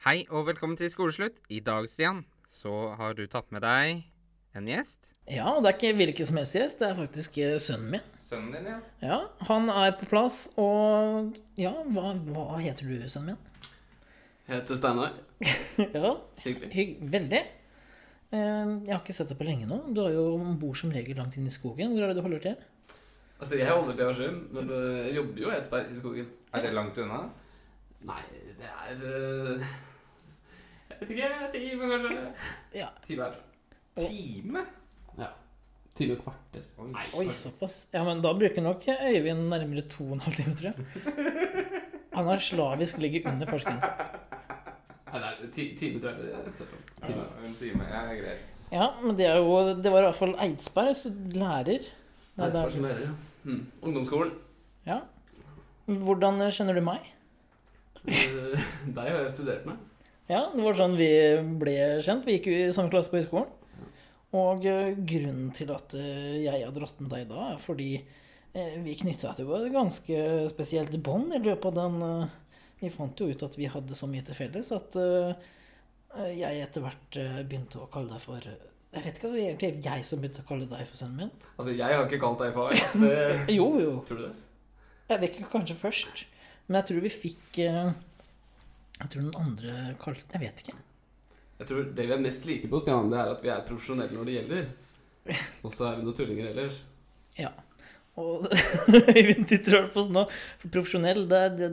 Hei og velkommen til Skoleslutt. I dag, Stian, så har du tatt med deg en gjest. Ja, og det er ikke hvilken som helst gjest, det er faktisk eh, sønnen min. Sønnen din, ja. Ja, Han er på plass, og ja, hva, hva heter du, sønnen min? heter Steinar. Ja, Hyggelig. hygg, veldig. Eh, Jeg har ikke sett deg på lenge nå. Du er jo bor som regel langt inn i skogen. Hvor er det du holder til? Altså, jeg holder til Askim, men eh, jeg jobber jo i Etterberg i skogen. Er det langt unna? Nei, det er eh, Jeg vet ikke, en time kanskje? Ja, Time herfra. Time? Ja. Time og kvarter. Oi. Nei, Oi, såpass. Ja, men da bruker nok Øyvind nærmere to og en halv time, tror jeg. Han har slavisk ligget under fartsgrensa. Nei, det er ti, time, tror jeg. jeg. ser for meg. Time. Ja, en time. Ja, greit. Ja, men det er jo Det var i hvert fall Eidsberg, så lærer. Nei, det spørs om dere, ja. Mm. Ungdomsskolen. Ja. Hvordan kjenner du meg? Eh, Deg har jeg studert med. Ja, det var sånn vi ble kjent. Vi gikk jo i samme klasse på høyskolen. Og eh, grunnen til at eh, jeg har dratt med deg da, er fordi eh, vi knytta til et ganske spesielt bånd i løpet av den eh, Vi fant jo ut at vi hadde så mye til felles at eh, jeg etter hvert eh, begynte å kalle deg for Jeg vet ikke om det egentlig er jeg som begynte å kalle deg for sønnen min. Altså, jeg har ikke kalt deg far. Det, Jo, jo. tror du det? Jeg vet ikke, kanskje først. Men jeg tror vi fikk eh, Jeg tror den andre kalte Jeg vet ikke. Jeg tror Det vi er mest like på, Stian, det er at vi er profesjonelle når det gjelder. Og så er vi noen tullinger ellers. Ja. Og Øyvind titter over på oss nå. For profesjonell, det, det,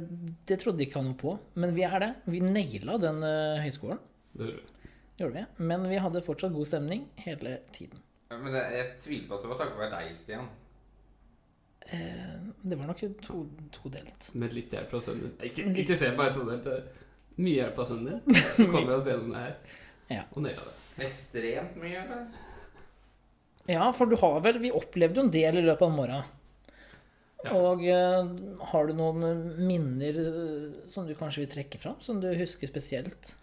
det trodde ikke han noe på. Men vi er det. Vi naila den eh, høyskolen. Det hører du. Gjorde vi. Men vi hadde fortsatt god stemning hele tiden. Ja, Men jeg, jeg tviler på at det var takket være deg, Stian. Eh, Det var nok to, todelt. Med litt hjelp fra sønnen din. Ikke, ikke se på meg todelt. det er Mye hjelp av sønnen din. Så kommer vi oss gjennom det her. Ja. Og naila det. Ekstremt mye, eller? Ja, for du har vel Vi opplevde jo en del i løpet av morgenen. Ja. Og eh, har du noen minner eh, som du kanskje vil trekke fram, som du husker spesielt?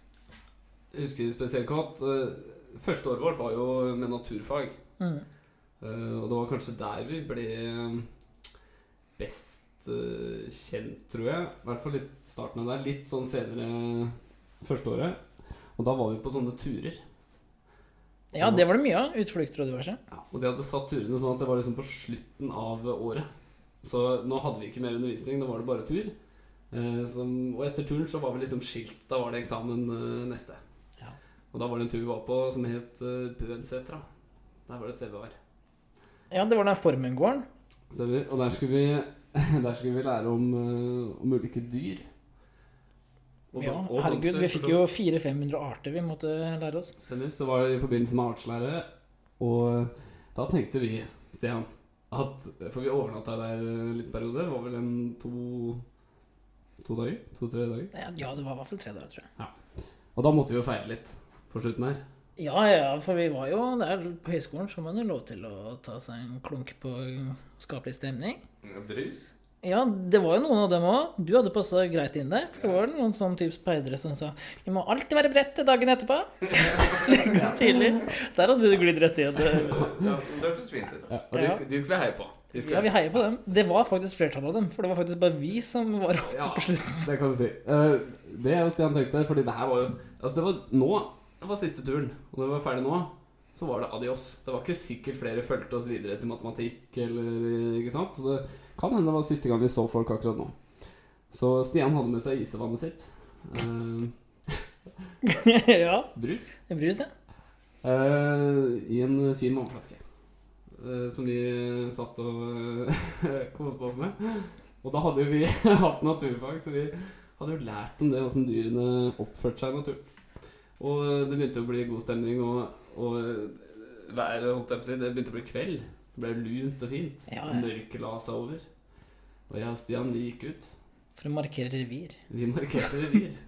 Jeg husker spesielt godt eh, Første året vårt var jo med naturfag. Mm. Eh, Og det var kanskje der vi ble eh, best eh, kjent, tror jeg. I hvert fall litt starten av der. Litt sånn senere eh, første året. Og da var vi på sånne turer. Ja, det var det mye av. Utflukter og diverse. Ja, og de hadde satt turene sånn at det var liksom på slutten av året. Så nå hadde vi ikke mer undervisning, nå var det bare tur. Eh, som, og etter turen så var vi liksom skilt. Da var det eksamen eh, neste. Ja. Og da var det en tur vi var på som het eh, Bøensetra. Der var det et sted vi var. Ja, det var den formengården. Stemmer. Og der skulle vi, der skulle vi lære om, eh, om ulike dyr. Og Ja, blom- og herregud, blomster, vi for fikk så jo 400-500 arter vi måtte lære oss. Stemmer. Så var det i forbindelse med artslære, og da tenkte vi, Stian at, For vi overnatta der en liten periode. Det var vel en to to dager? To-tre dager. Ja, ja, det var i hvert fall tre dager, tror jeg. Og da måtte vi jo feire litt på slutten her. Ja, ja, for vi var jo der på høyskolen, så man jo lov til å ta seg en klunk på skapelig stemning. Brus? Ja, det var jo noen av dem òg. Du hadde passa greit inn der. For det var noen sånn type speidere som sa Vi må alltid være beredt til dagen etterpå. Legges tidlig. Der hadde du glidd rett i. det. Ja, det hørtes fint ut. Ja, og de, Ja. skal, de skal vi heie på. De skal Ja, vi heier på dem. Det var faktisk flertallet av dem. For det var faktisk bare vi som var oppe Ja. på slutten. Det kan du si. Eh, det jeg og Stian tenkte, fordi det her var jo Altså, det var nå Det var siste turen. Og når vi var ferdig nå, så var det adios. Det var ikke sikkert flere fulgte oss videre til matematikk eller Ikke sant? Så det kan hende det var siste gang vi så folk akkurat nå. Så Stian hadde med seg isvannet sitt. Eh, ja. brus. Brus, ja. eh, I en fin vannflaske. eh, som vi satt og eh, koste oss med. Og da hadde jo vi hatt naturfag, så vi hadde jo lært om det, åssen dyrene oppførte seg i naturen. Og eh, det begynte å bli god stemning, og, og eh, været holdt jeg på å si, det begynte å bli kveld. Det ble lunt og fint. Ja, ja. Mørket la seg over. Og jeg og Stian, vi gikk ut. For å markere revir. Vi markerte revir.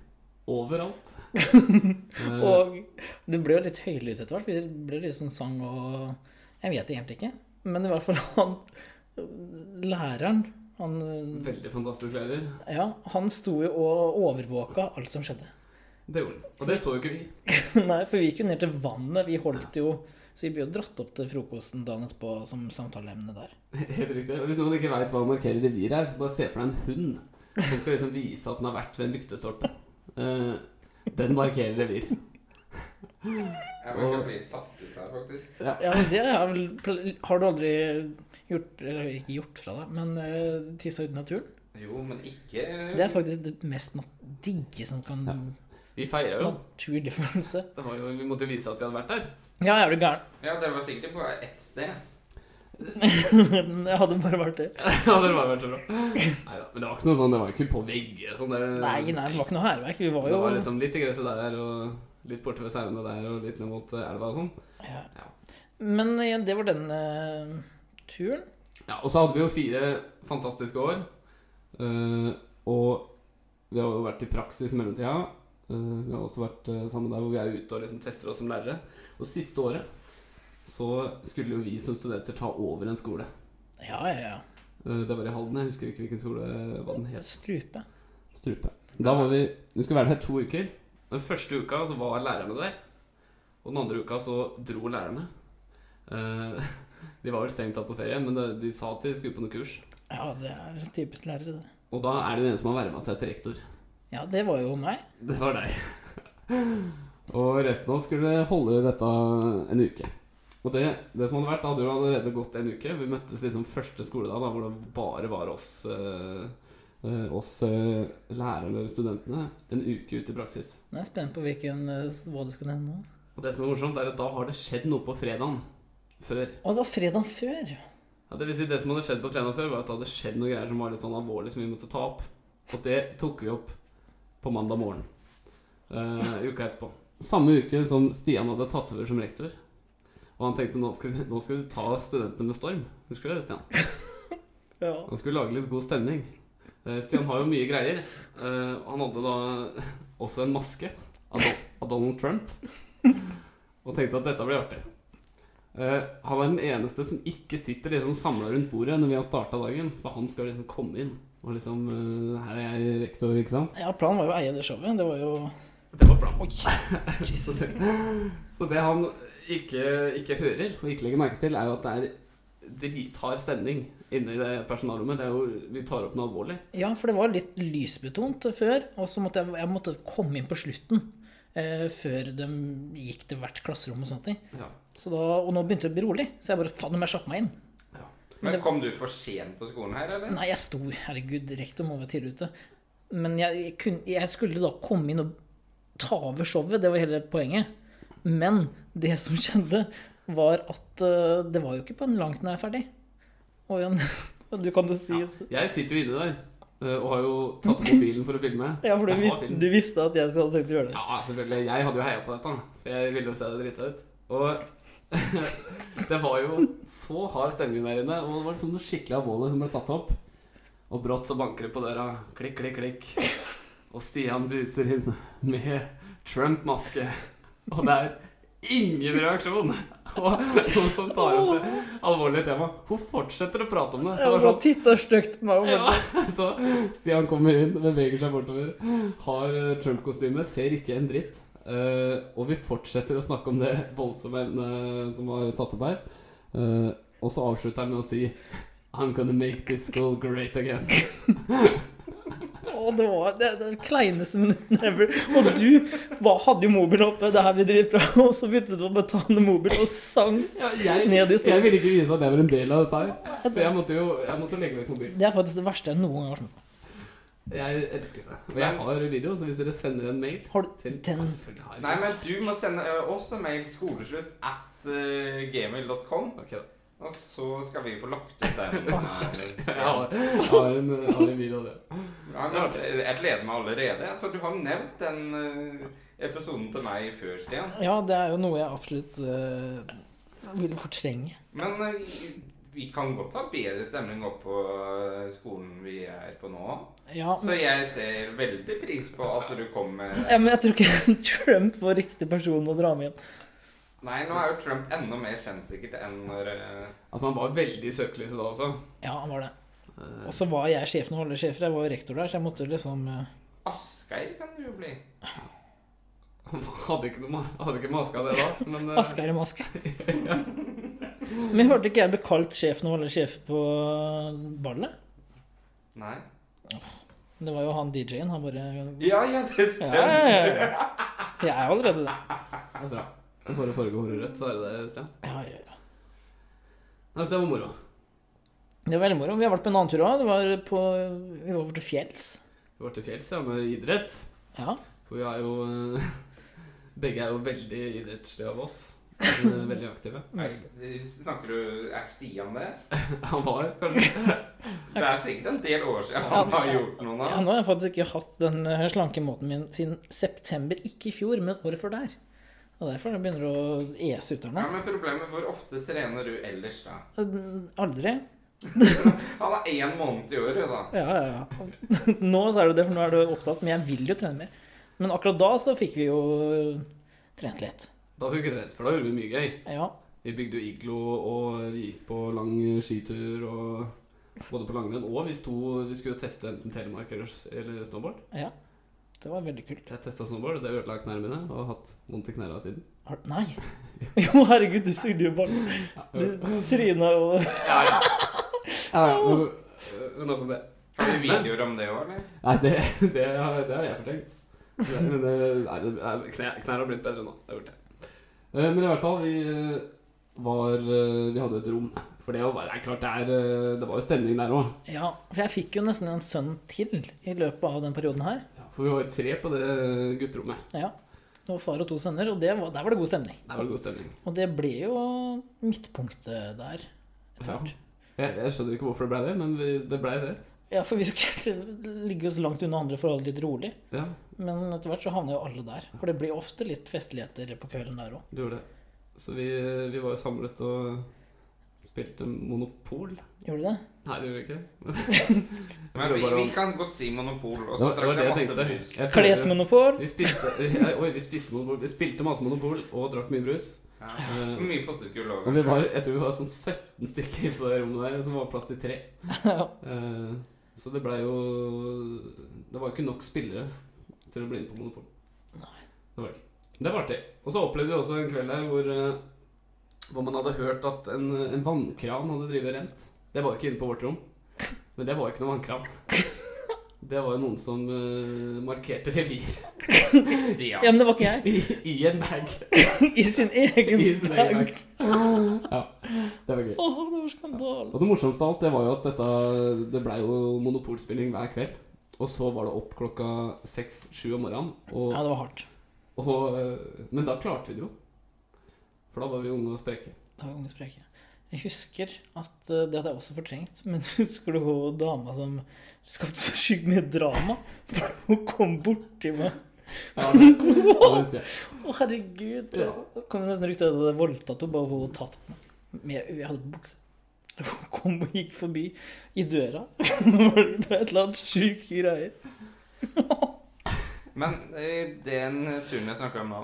Overalt. Eh, Og det ble jo litt høylytt etter hvert. for Det ble litt sånn sang og Jeg vet egentlig ikke. Men i hvert fall han læreren Han, eh, Veldig fantastisk lærer. ja, han sto jo og overvåka alt som skjedde. Det gjorde han. Og det så jo ikke vi. Nei, for vi gikk jo ned til vannet. Vi holdt jo Så vi ble jo dratt opp til frokosten dagen etterpå som samtaleemne der. Helt riktig. Og Hvis noen ikke veit hva markerer revir er, så bare se for deg en hund som skal liksom vise at den har vært ved en lyktestolpe. Eh, den markerer revir. Jeg må ikke bli satt ut her, faktisk. Ja, men det er vel pl- Har du aldri gjort Eller ikke gjort fra deg, men uh, tissa ute i naturen? Jo, men ikke Det er faktisk det mest nat digge som kan Vi feira jo. Naturlig følelse. Det var jo. Vi måtte jo vise at vi hadde vært der. Ja, er du gæren? Ja, det var sikkert på ett sted. Jeg hadde bare vært det. ja, det var vært så bra. Neida, men det var ikke noe sånn, det var ikke på vegger. Sånn det, Nei, nei, det var ikke noe hærverk. Vi var Det jo var liksom litt i gresset der, og litt borte ved sauene der, og litt ned mot eh, elva og sånn. ja. Ja. Men eh, det var den eh, turen. Ja, og så hadde vi jo fire fantastiske år. Eh, og vi har jo vært i praksis i mellomtida. Eh, vi har også vært eh, sammen der hvor vi er ute og liksom tester oss som lærere. Og siste året så skulle jo vi som studenter ta over en skole. Ja, ja, ja. Eh, det var i Halden, jeg husker ikke hvilken skole eh, hva den het. Strupe. Strupe. Da var vi Vi skulle være der to uker. Den første uka så var lærerne der. Og den andre uka så dro lærerne. Eh, de var vel strengt tatt på ferie, men de, de sa at de skulle på noe kurs. Ja, det er typisk lærere, det. Og da er det jo en som har verva seg til rektor. Ja, det var jo meg. Det var deg. Og resten av oss skulle holde dette en uke. Og det, det som hadde vært, da hadde jo allerede gått en uke. Vi møttes liksom første skoledag da, hvor det bare var oss, eh, eh, oss eh, lærerne eller studentene en uke ute i praksis. Nå er jeg spent på hvilken, eh, hva du skal nevne nå. Og det som er morsomt, er at da har det skjedd noe på fredagen før. Å, det var fredagen før. Ja, det vil si, det som hadde skjedd på fredagen før, var at det hadde skjedd noen greier som var litt sånn alvorlig, som vi måtte ta opp. Og det tok vi opp på mandag morgen eh, uka etterpå. Samme uke som Stian hadde tatt over som rektor. Og han tenkte nå skal, nå skal vi ta studentene med storm. Husker du det, Stian? Ja. Han skulle lage litt god stemning. Eh, Stian har jo mye greier. Eh, han hadde da også en maske av, Don av Donald Trump. Og tenkte at dette blir artig. Eh, han er den eneste som ikke sitter liksom samla rundt bordet når vi har starta dagen. For han skal liksom komme inn og liksom eh, Her er jeg rektor, ikke sant? ja, planen var jo å eie det showet. Det var jo Det var planen. Oi! Jesus. Så det han ikke, ikke hører og ikke legger merke til, er jo at det er drithard stemning inne i det personalrommet. Det er jo, vi tar opp noe alvorlig. Ja, for det var litt lysbetont før, og så måtte jeg, jeg måtte komme inn på slutten. Eh, før de gikk til hvert klasserom og sånne ting. Ja. Så da, og nå begynte det å bli rolig, så jeg bare faen om jeg slapp meg inn. Men kom du for sent på skolen her, eller? Nei, jeg sto Herregud, rektor må være tidlig ute. Men jeg, jeg, kunne, jeg skulle da komme inn og ta over showet. Det var hele poenget. Men det som skjedde, var at eh, det var jo ikke på en langt nær ferdig. Og Jan, du kan jo si Ja, Jeg sitter jo inne der, eh, og har jo tatt opp mobilen for å filme. for du, Jeg har vis, film. du visste at jeg hadde tenkt å gjøre det. Ja, selvfølgelig. Jeg hadde jo heia på dette, da, for jeg ville jo se det drita ut. Og det var jo så hard stemning der inne, og det var liksom noe skikkelig alvorlig som ble tatt opp. Og brått så banker det på døra. Klikk, klikk, klikk. Og Stian buser inn med Trump-maske. Og det er ingen reaksjon! Og hun som tar opp det alvorlige temaet, hun fortsetter å prate om det. Det Jeg var sånn bare titta stygt på meg. og bare- Ja, så Stian kommer inn, beveger seg bortover, har eh, Trump-kostyme, ser ikke en dritt. Eh, og vi fortsetter å snakke om det voldsomme emnet eh, som var tatt opp her. Eh, og så avslutter han med å si I'm gonna make this school great again. Å, det var det, det kleineste minutten ever. Og du var, hadde jo mobilen oppe, det her blir dritbra, og så begynte du å bare ta ned mobilen og sang. Ja, jeg, Ned i jeg stolen. ville ikke vise at jeg var en del av dette her, så jeg måtte jo jeg måtte legge vekk mobilen. Det er faktisk det verste jeg noen gang har vært med på. Jeg elsker det. Og jeg har video, så hvis dere sender en mail Har du til den? Ja, Selvfølgelig har jeg Nei, men du må sende ø, oss en mail skoleslutt at eh, gmail.com, Ok, da. og så skal vi få lagt ut den. eh, Jeg har, jeg har, en, jeg har en video av det. Ja, men jeg gleder meg allerede, for du har nevnt den eh, episoden til meg før, Stian. Ja, det er jo noe jeg absolutt eh, vil fortrenge. Men eh, vi kan godt ha bedre stemning opp på eh, skolen vi er på nå. Ja, men, Så jeg ser veldig pris på at du kom med ja, men jeg tror ikke Trump var riktig person å dra med igjen. Nei, nå er jo Trump enda mer kjent sikkert enn når eh, Altså, han var veldig i søkelyset da også. Ja, han var det. Eh, Og så var jeg sjefen og alle sjefer. Jeg var jo rektor der, så jeg måtte liksom eh, Asgeir kan du jo bli. Han hadde ikke, noe, ma- hadde ikke maska det da, men eh, Asgeir i maske. Men hørte ikke jeg ble kalt sjefen og alle sjefer på eh, ballet? Nei. Det var jo han DJ-en. Han bare Ja, Ja, ja, det ja, stemmer. ja, ja. Jeg er allerede der. det er bra. Bare farge håret rødt, så er det det, Stian. Ja, ja, ja. Nei, så det var moro. Det var veldig moro. Vi har vært på en annen tur òg. Vi var på vi var over til fjells. Vi var til fjells, ja, med idrett. Ja. For vi er jo eh, Begge er jo veldig idrettslige av oss. men, eh, Veldig aktive. Er- Snakker du Er Stian der? Han var kanskje Det er sikkert en del år siden han har gjort noe Ja, nå. nå har jeg faktisk ikke hatt den eh, slanke måten min siden september. Ikke i fjor, men året før der. Og derfor det begynner det å ese ut her Ja, nå. men problemet hvor ofte trener du ellers, da? Eh, Aldri. Han har én måned i året, da. Ja, ja, ja. Nå så er det det, for nå er du opptatt. Men jeg vil jo trene mer. Men akkurat da så fikk vi jo eh, trent litt. Da fikk vi redd, for da gjorde vi mye gøy. Ja. Vi bygde jo iglo, og vi gikk på lang skitur og Både på langrenn og vi, sto, vi skulle jo teste enten telemark eller, eller snowboard. ja. Det var veldig kult. Jeg testa snowboard, og det ødela knærne mine og har hatt vondt i knærne siden. Har- Nei. Jo, herregud, du sugde jo bare. Du tryna jo Ja, ja. ja, ja. men- øh, Nok om det. Har du videoer om det òg, eller? Nei, det, det, har, det har jeg fortenkt. Det- Men det, nei, det, nei, knær, knær har blitt bedre nå. Det har gjort det. Eh, Men i hvert fall, vi eh, var eh, Vi hadde et rom. For det var, det er klart, det, er, eh, det var jo stemning der òg. Ja, for jeg fikk jo nesten en sønn til i løpet av den perioden her. For vi var jo tre på det eh, gutterommet. Ja. Det var far og to sønner, og det var, der var det god stemning. Der var det god stemning. Og det ble jo midtpunktet der etter Ja. hvert. Jeg, jeg skjønner ikke hvorfor det blei det, men vi, det blei det. Ja, for vi skulle ligge oss langt unna andre forhold, litt rolig. Ja, Men etter hvert så havna jo alle der. For det blir ofte litt festligheter på kvelden der òg. det gjorde det. Så vi, eh, vi var jo samlet og spilte Monopol. Gjorde du det? Nei, det gjorde vi ikke. Men vi, Jeg prøver bare vi å- kan godt si monopol, og Det så var- det var drakk det jeg jeg masse tenkte. brus. Jeg prøver- Klesmonopol. Vi spiste, eh, oi, vi spiste monopol. Vi spilte masse monopol og drakk mye brus. Ja. Eh, Mye potetgull òg, Og vi var, kanskje. jeg tror vi var sånn 17 stykker på det rommet der, som var plass til tre. Ja. Eh, Så det blei jo Det var ikke nok spillere til å bli inne på Monopol. Nei. Det var det ikke. Det var artig. Og så opplevde vi også en kveld der hvor, eh, hvor man hadde hørt at en, en vannkran hadde drevet rent. Det var jo ikke inne på vårt rom, men det var jo ikke noen vannkran. Det var jo noen som eh, markerte revir Stian. ja, men det var ikke jeg. i, i en bag. I sin egen I sin egen bag. Ja, det var gøy. Å, det var skandale. Og det morsomste av alt, det var jo at dette, det ble jo monopolspilling hver kveld. Og så var det opp klokka seks-sju om morgenen. Ja, Og, det var hardt. og, eh, men da klarte vi det jo. For da var vi unge og spreke. Det var unge spreke. Jeg husker at eh, Det hadde jeg også fortrengt. Men husker du hun dama som skapte så sjukt mye drama? For hun kom borti meg. Ja, det, det husker jeg. Å, herregud. Ja. Det kom nesten rykte at jeg hadde voldtatt henne. Bare hun tatt på meg. Med, jeg hadde bukse. Hun kom og gikk forbi i døra. Det var et eller annet sjukt greier. Men eh, den turen jeg snakka om nå,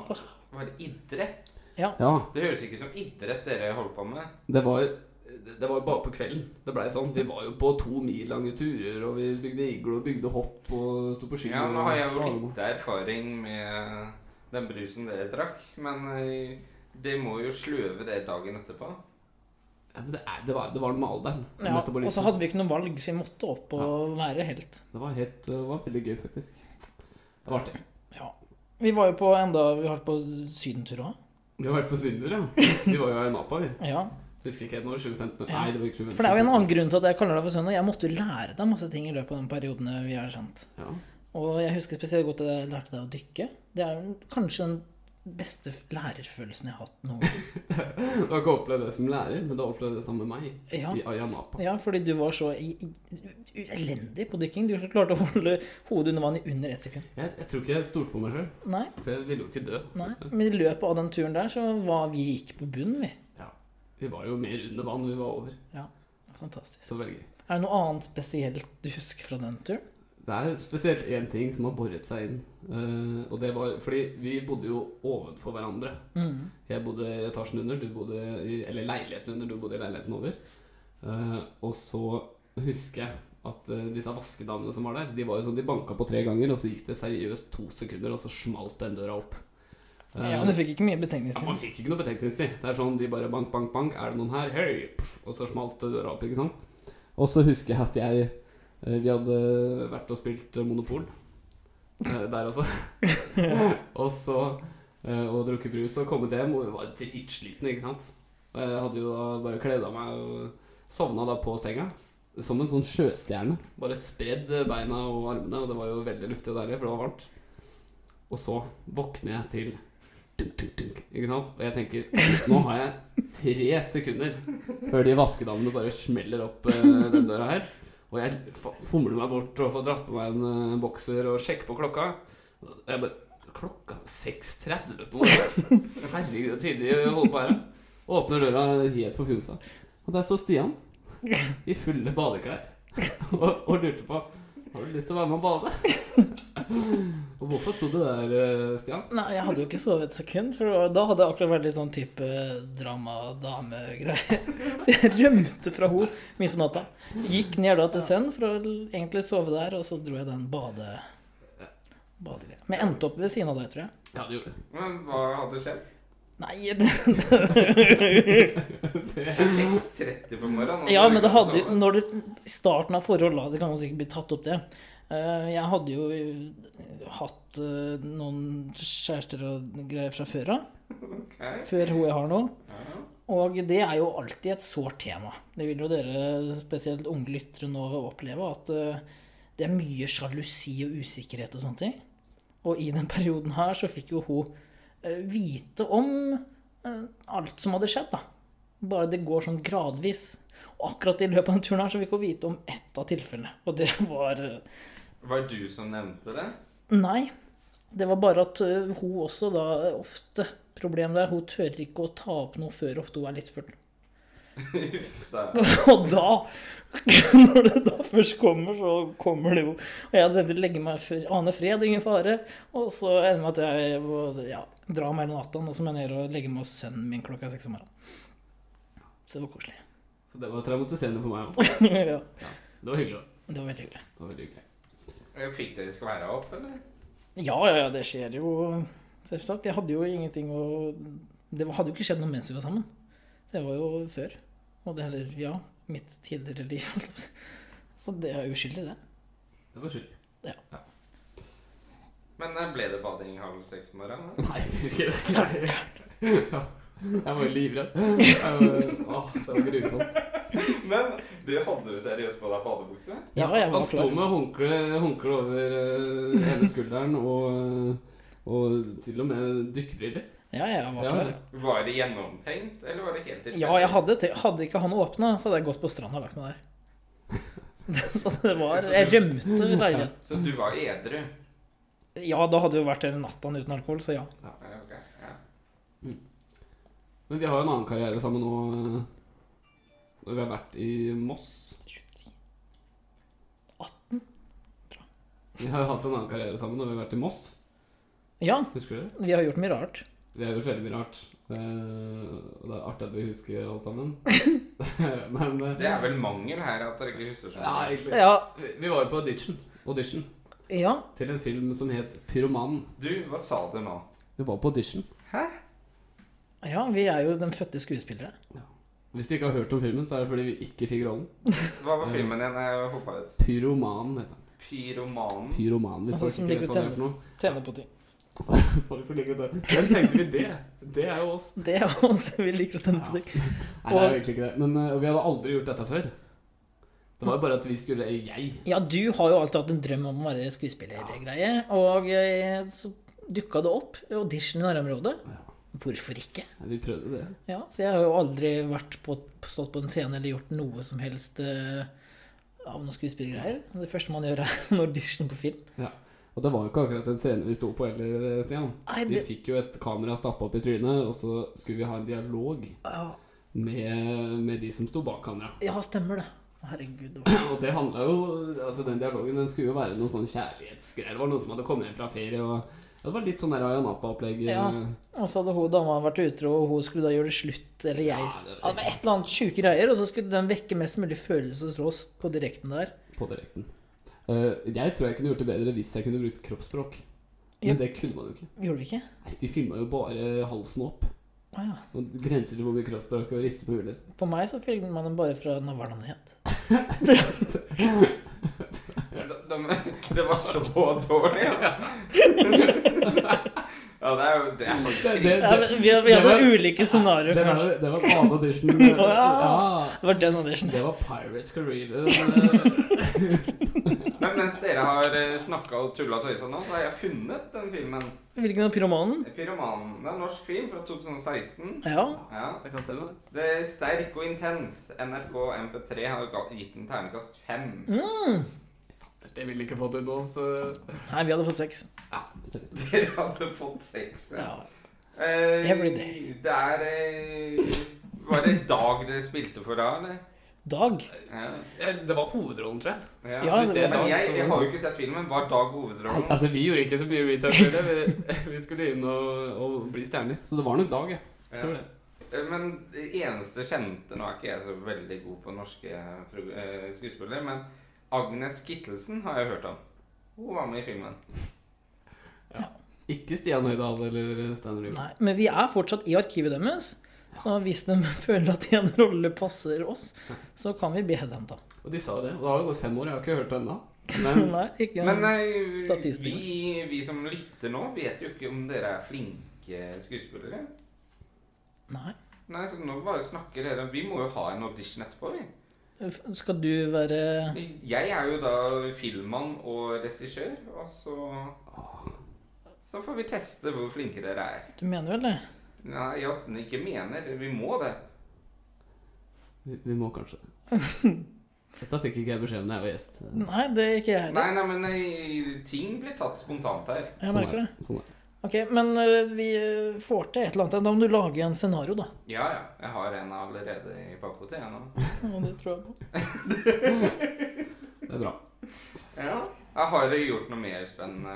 var det idrett? Ja, Det høres ikke ut som idrett dere holder på med. det var det var jo bare på kvelden. Det blei sånn. Vi var jo på to mil lange turer, og vi bygde iglo, bygde hopp og sto på ski. Ja, nå har jeg jo og- litt erfaring med den brusen dere drakk, men eh, det må jo sløve det dagen etterpå. ja, men det, er, det, var, det var noe med alderen. Ja, og så metabolismen. hadde vi ikke noe valg, så vi måtte opp og være helt. Det var, helt, det var veldig gøy, faktisk. Det var artig. Vi var jo på enda Vi har vært på sydentur òg. Vi har vært på sydentur, ja. Vi var jo i Napa, vi. Ja. Husker ikke helt når. 2015? Ja. Nei, det var ikke 2015. For det er jo en annen grunn til at jeg kaller deg for sønn, og jeg måtte jo lære deg masse ting i løpet av den perioden vi har kjent. Ja. Og jeg husker spesielt godt at jeg lærte deg å dykke. Det er jo kanskje den beste f- lærerfølelsen jeg har hatt noen gang. Du har ikke opplevd det som lærer, men du har opplevd det sammen med meg. Ja. I Ayia Napa. ja, fordi du var så i, i, elendig på dykking. Du klarte å holde hodet under vann i under ett sekund. Jeg, jeg tror ikke jeg stolte på meg sjøl, Nei, for jeg ville jo ikke dø. nei. Men i løpet av den turen der så var vi gikk på bunnen, vi. Vi var jo mer under vann vi var over. Fantastisk. Så veldig gøy. Er det noe annet spesielt du husker fra den turen? Det er spesielt én ting som har boret seg inn. eh, og det var fordi vi bodde jo ovenfor hverandre. Mm. Jeg bodde i etasjen under, du bodde i, eller leiligheten under, du bodde i leiligheten over. Eh, og så husker jeg at eh, disse vaskedamene som var der, de var jo sånn, de banka på tre ganger, og så gikk det seriøst to sekunder, og så smalt den døra opp. Eh, Ja, men du fikk ikke mye ja, man betegningstid. fikk ikke noe betenkningstid. Det er sånn de bare bank, bank, bank. Er det noen her? Hei! Pff, Og så smalt døra opp, ikke sant? Og så husker jeg at jeg eh, Vi hadde vært og spilt eh, Monopol eh, der også. og så eh, Og drukket brus og kommet hjem og var dritsliten, ikke sant? Og Jeg hadde jo da bare kledd av meg og sovna da på senga. Som en sånn sjøstjerne. Bare spredd eh, beina og armene, og det var jo veldig luftig og deilig, for det var varmt. Og så våkner jeg til dunk, dunk, dunk, ikke sant? Og jeg tenker, nå har jeg tre sekunder før de vaskedamene bare smeller opp eh, den døra her. Og jeg f- fomler meg bort og får dratt på meg en eh, bokser og sjekker på klokka. Og jeg bare Klokka 6.30 på morgenen? Herregud, så tidlig å holde på her. Åpner døra helt forfjumsa. Og der står Stian i fulle badeklær og, og lurte på Har du lyst til å være med og bade. Og hvorfor sto du der, eh, Stian? Nei, jeg hadde jo ikke sovet et sekund, for det var- da hadde jeg akkurat vært litt sånn type drama-dame-greier. Så jeg rømte fra henne midt på natta. Gikk ned da til sønn for å l- egentlig sove der, og så dro jeg den bade... badegreia. Men jeg endte opp ved siden av deg, tror jeg. Ja, det gjorde du. Men hva hadde skjedd? Nei det- 6.30 på morgenen? og Ja, dere men det kan hadde jo sove. Når det i starten av forhold, da, det kan jo sikkert bli tatt opp, det. Eh, Jeg hadde jo eh, hatt eh, noen kjærester og greier fra før av. Ok. Før hun jeg har nå. Ja. Og det er jo alltid et sårt tema. Det vil jo dere, spesielt unge lyttere, nå oppleve. At eh, det er mye sjalusi og usikkerhet og sånne ting. Og i den perioden her så fikk jo hun eh, vite om eh, alt som hadde skjedd, da. Bare det går sånn gradvis. Og akkurat i løpet av den turen her så fikk hun vite om ett av tilfellene. Og det var eh, Var det du som nevnte det? Nei. Det var bare at ø, hun også da eh, ofte Problemet der, hun tør ikke å ta opp noe før ofte hun er litt full. Uff, da. Og da, når det da først kommer, så kommer det jo. Og jeg tenkte legge meg for ane fred, ingen fare. Og så ender det med at jeg må ja, dra meg hele natta, og så må jeg ned og legge meg hos sønnen min klokka seks om morgenen. Så det var koselig. Så det var traumatiserende for meg òg. ja, Det var hyggelig. da. det var veldig hyggelig. Det var veldig hyggelig. Fikk dere skværa opp, eller? Ja, ja, ja, det skjer jo. Selvsagt. Jeg hadde jo ingenting å Det hadde jo ikke skjedd noe mens vi var sammen. Det var jo før. Og det heller Ja, mitt tidligere liv. holdt jeg på å si. Så det er uskyldig, det. Det var skyld. Men eh, ble det bading halv seks på morgenen? da? Nei, jeg tror ikke det. Ja. Jeg var jo livredd. Jeg var- Åh, det var grusomt. Men du hadde du seriøst på deg badebukse? Ja, jeg var Han sto klar. med håndkle, håndkle over eh, ene skulderen og, eh, og til og med dykkerbriller. Ja, jeg var Ja, klar. Var det gjennomtenkt, eller var det helt tilfeldig? Ja, jeg hadde, te- hadde ikke han åpna, så hadde jeg gått på stranda og lagt meg der. Så det var Jeg rømte leiligheten. Så du var edru? Ja, da hadde det jo vært hele natta uten alkohol, så ja. Ja, ok, ja. Men vi har jo en annen karriere sammen nå. eh, Når vi har vært i Moss. 18? Vi har jo hatt en annen karriere sammen når vi har vært i Moss. Ja, Husker du det? vi har gjort mye rart. Vi har gjort veldig mye rart. Eh, og det er artig at vi husker alt sammen. Men eh, Det er vel mangel her at dere ikke husker sånn. Ja, egentlig. Ja, Vi vi var jo på audition. audition ja. til en film som het Pyromanen. Du, hva sa du nå? Vi var på audition. ja vi er jo den fødte skuespillere. Hvis du ikke har hørt om filmen, så er det fordi vi ikke fikk rollen. Hva var filmen igjen? Jeg hoppa ut. Pyromanen heter den. Pyromanen. Pyromanen, hvis Altså, folk som ikke liker vet hva det er for noe. Tjener på ting. Folk som liker det. Hvem tenkte vi det? Det er jo oss. Det er også vi liker å tenne på ting. Nei, det er jo egentlig ikke det. Men eh, vi hadde aldri gjort dette før. Det var jo bare at vi skulle Jeg. Ja, du har jo alltid hatt en drøm om å være skuespillergreier, og eh, så dukka det opp audition i nærområdet. Hvorfor ikke? Vi prøvde det. Ja, så jeg har jo aldri vært på, stått på en scene eller gjort noe som helst eh, av noen skuespillergreier. Det første man gjør, er en audition på film. Og det var jo ikke akkurat en scene vi sto på heller, eh, Stian. Nei, Vi det, fikk jo et kamera stappa opp i trynet, og så skulle vi ha en dialog ja, med, med de som sto bak kamera. ja, stemmer det. Herregud. det var- Og det handla jo Altså, den dialogen den skulle jo være noe sånn kjærlighetsgreier. Det var noen som hadde kommet hjem fra ferie og Ja, det var litt sånn der Ayanapa-opplegg. Ja. Og så hadde hun dama vært utro, og hun skulle da gjøre det slutt. Eller jeg Ja, ja, det- det var Et eller annet sjuke greier. Og så skulle den vekke mest mulig følelse hos oss på direkten der. På direkten. Eh, jeg tror jeg kunne gjort det bedre hvis jeg kunne brukt kroppsspråk. Ja. Men det kunne man jo ikke. Gjorde vi ikke? Nei, De filma jo bare halsen opp. Å ja. Og det grenser til hvor mye kroppsspråk og riste på huet. liksom. På meg så filmet man den bare fra Nå var det noe het. liksom. De, de, det var så dårlig. Ja, ja det er jo det er faktisk Det- det- krise. Ja, men vi, vi hadde Det var- ulike scenarioer. Det var, kanskje. det var annen audition. Å, ja. Ja, Det var den auditionen. det var Pirates Caribbean. eh, Men mens dere har snakka og tulla og tøysa nå, så har jeg funnet den filmen. Hvilken av pyromanen? Pyromanen. Det er en norsk film fra 2016. Ja. Ja. Jeg kan stemme det. Det er sterk og intens. NRK MP3 har ga- gitt den terningkast fem. Mm. Det ville ikke fått unna oss. eh. Nei, vi hadde fått sex. Ja, stemmer. Dere hadde fått seks. Ja. Eh, Every day. Det er eh, Var det dag dere spilte for da, eller? Dag. Ja. Eh, Det var hovedrollen, tror jeg. ja. Ja, så hvis det det er Men var- Dag, jeg, så- jeg har jo ikke sett filmen. Var Dag Nei, hovedrollen? altså, vi gjorde ikke så mye research. for det. Vi, vi skulle inn og, og bli stjerner. Så det var nok Dag, jeg. Ja. Tror det. Eh, Men det eneste kjente Nå er ikke jeg så veldig god på norske prog- eh, skuespillere, men Agnes Kittelsen har jeg hørt om. Hun var med i filmen. Ikke Stian Høydahl eller Steinar Lyngdal. Nei. Men vi er fortsatt i arkivet deres. Så hvis de føler at en rolle passer oss, så kan vi bli headhunta. Og de sa jo det. Og det har jo gått fem år, jeg har ikke hørt det ennå. Men Nei, ikke Men eh, Statistikken. vi, vi som lytter nå, vet jo ikke om dere er flinke skuespillere. Nei. Nei, så nå bare snakker dere. Vi må jo ha en audition etterpå, vi. F- Skal du være Jeg er jo da filmmann og regissør, og så Så får vi teste hvor flinke dere er. Du mener vel det? Nei, Jasten ikke mener. Vi må det. vi, vi må kanskje Dette fikk ikke jeg beskjed om da jeg var gjest. Nei, det er ikke jeg Nei, heller. nei, men nei, ting blir tatt spontant her. Jeg merker det. er Sånn er det. Ok, Men eh, vi eh, får til et eller annet. Da må du lage en scenario, da. Ja, ja. Jeg har en allerede i bakhodet, jeg nå. Ja, det tror jeg på. Det er bra. Ja. Jeg har dere gjort noe mer spennende?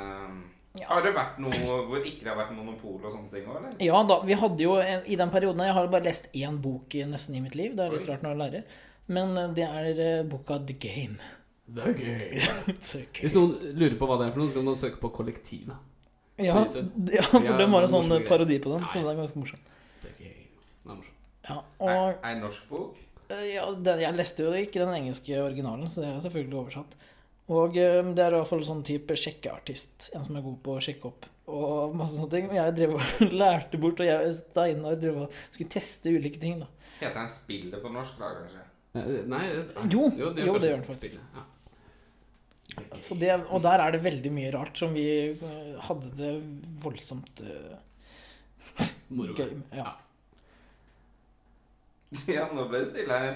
Ja. Har det vært noe hvor ikke det har vært monopol og sånne ting òg, eller? Ja da. Vi hadde jo en, I den perioden her, Jeg har bare lest én bok i- nesten i mitt liv. Det er litt Oi. rart når jeg lærer. Men eh, det er eh, boka The Game. Det er gøy. It's okay. Hvis noen lurer på hva det er for noe, så kan man søke på Kollektivet. Ja, på YouTube. ja, for Ja, de har en sånn morsomme greier. parodi på den, så Ja, ja. det er ganske morsomt. Det er gøy. Det er morsomt. Ja, Er, og er norsk bok? eh, ja, den, Jeg leste jo ikke den engelske originalen, så det er selvfølgelig oversatt. Og eh, det er i hvert fall sånn type sjekkeartist. En som er god på å sjekke opp og masse sånne ting. Og jeg drev og lærte bort, og jeg og Steinar drev og skulle teste ulike ting, da. Heter den Spillet på norsk, da, kanskje? Eh, Nei eh, Jo, jo, kanskje det gjør den faktisk. spillet, Ja. Så det, og der er det veldig mye rart som vi eh, hadde det voldsomt eh, Moro. gøy med. Ja. ja, nå ble det stille her.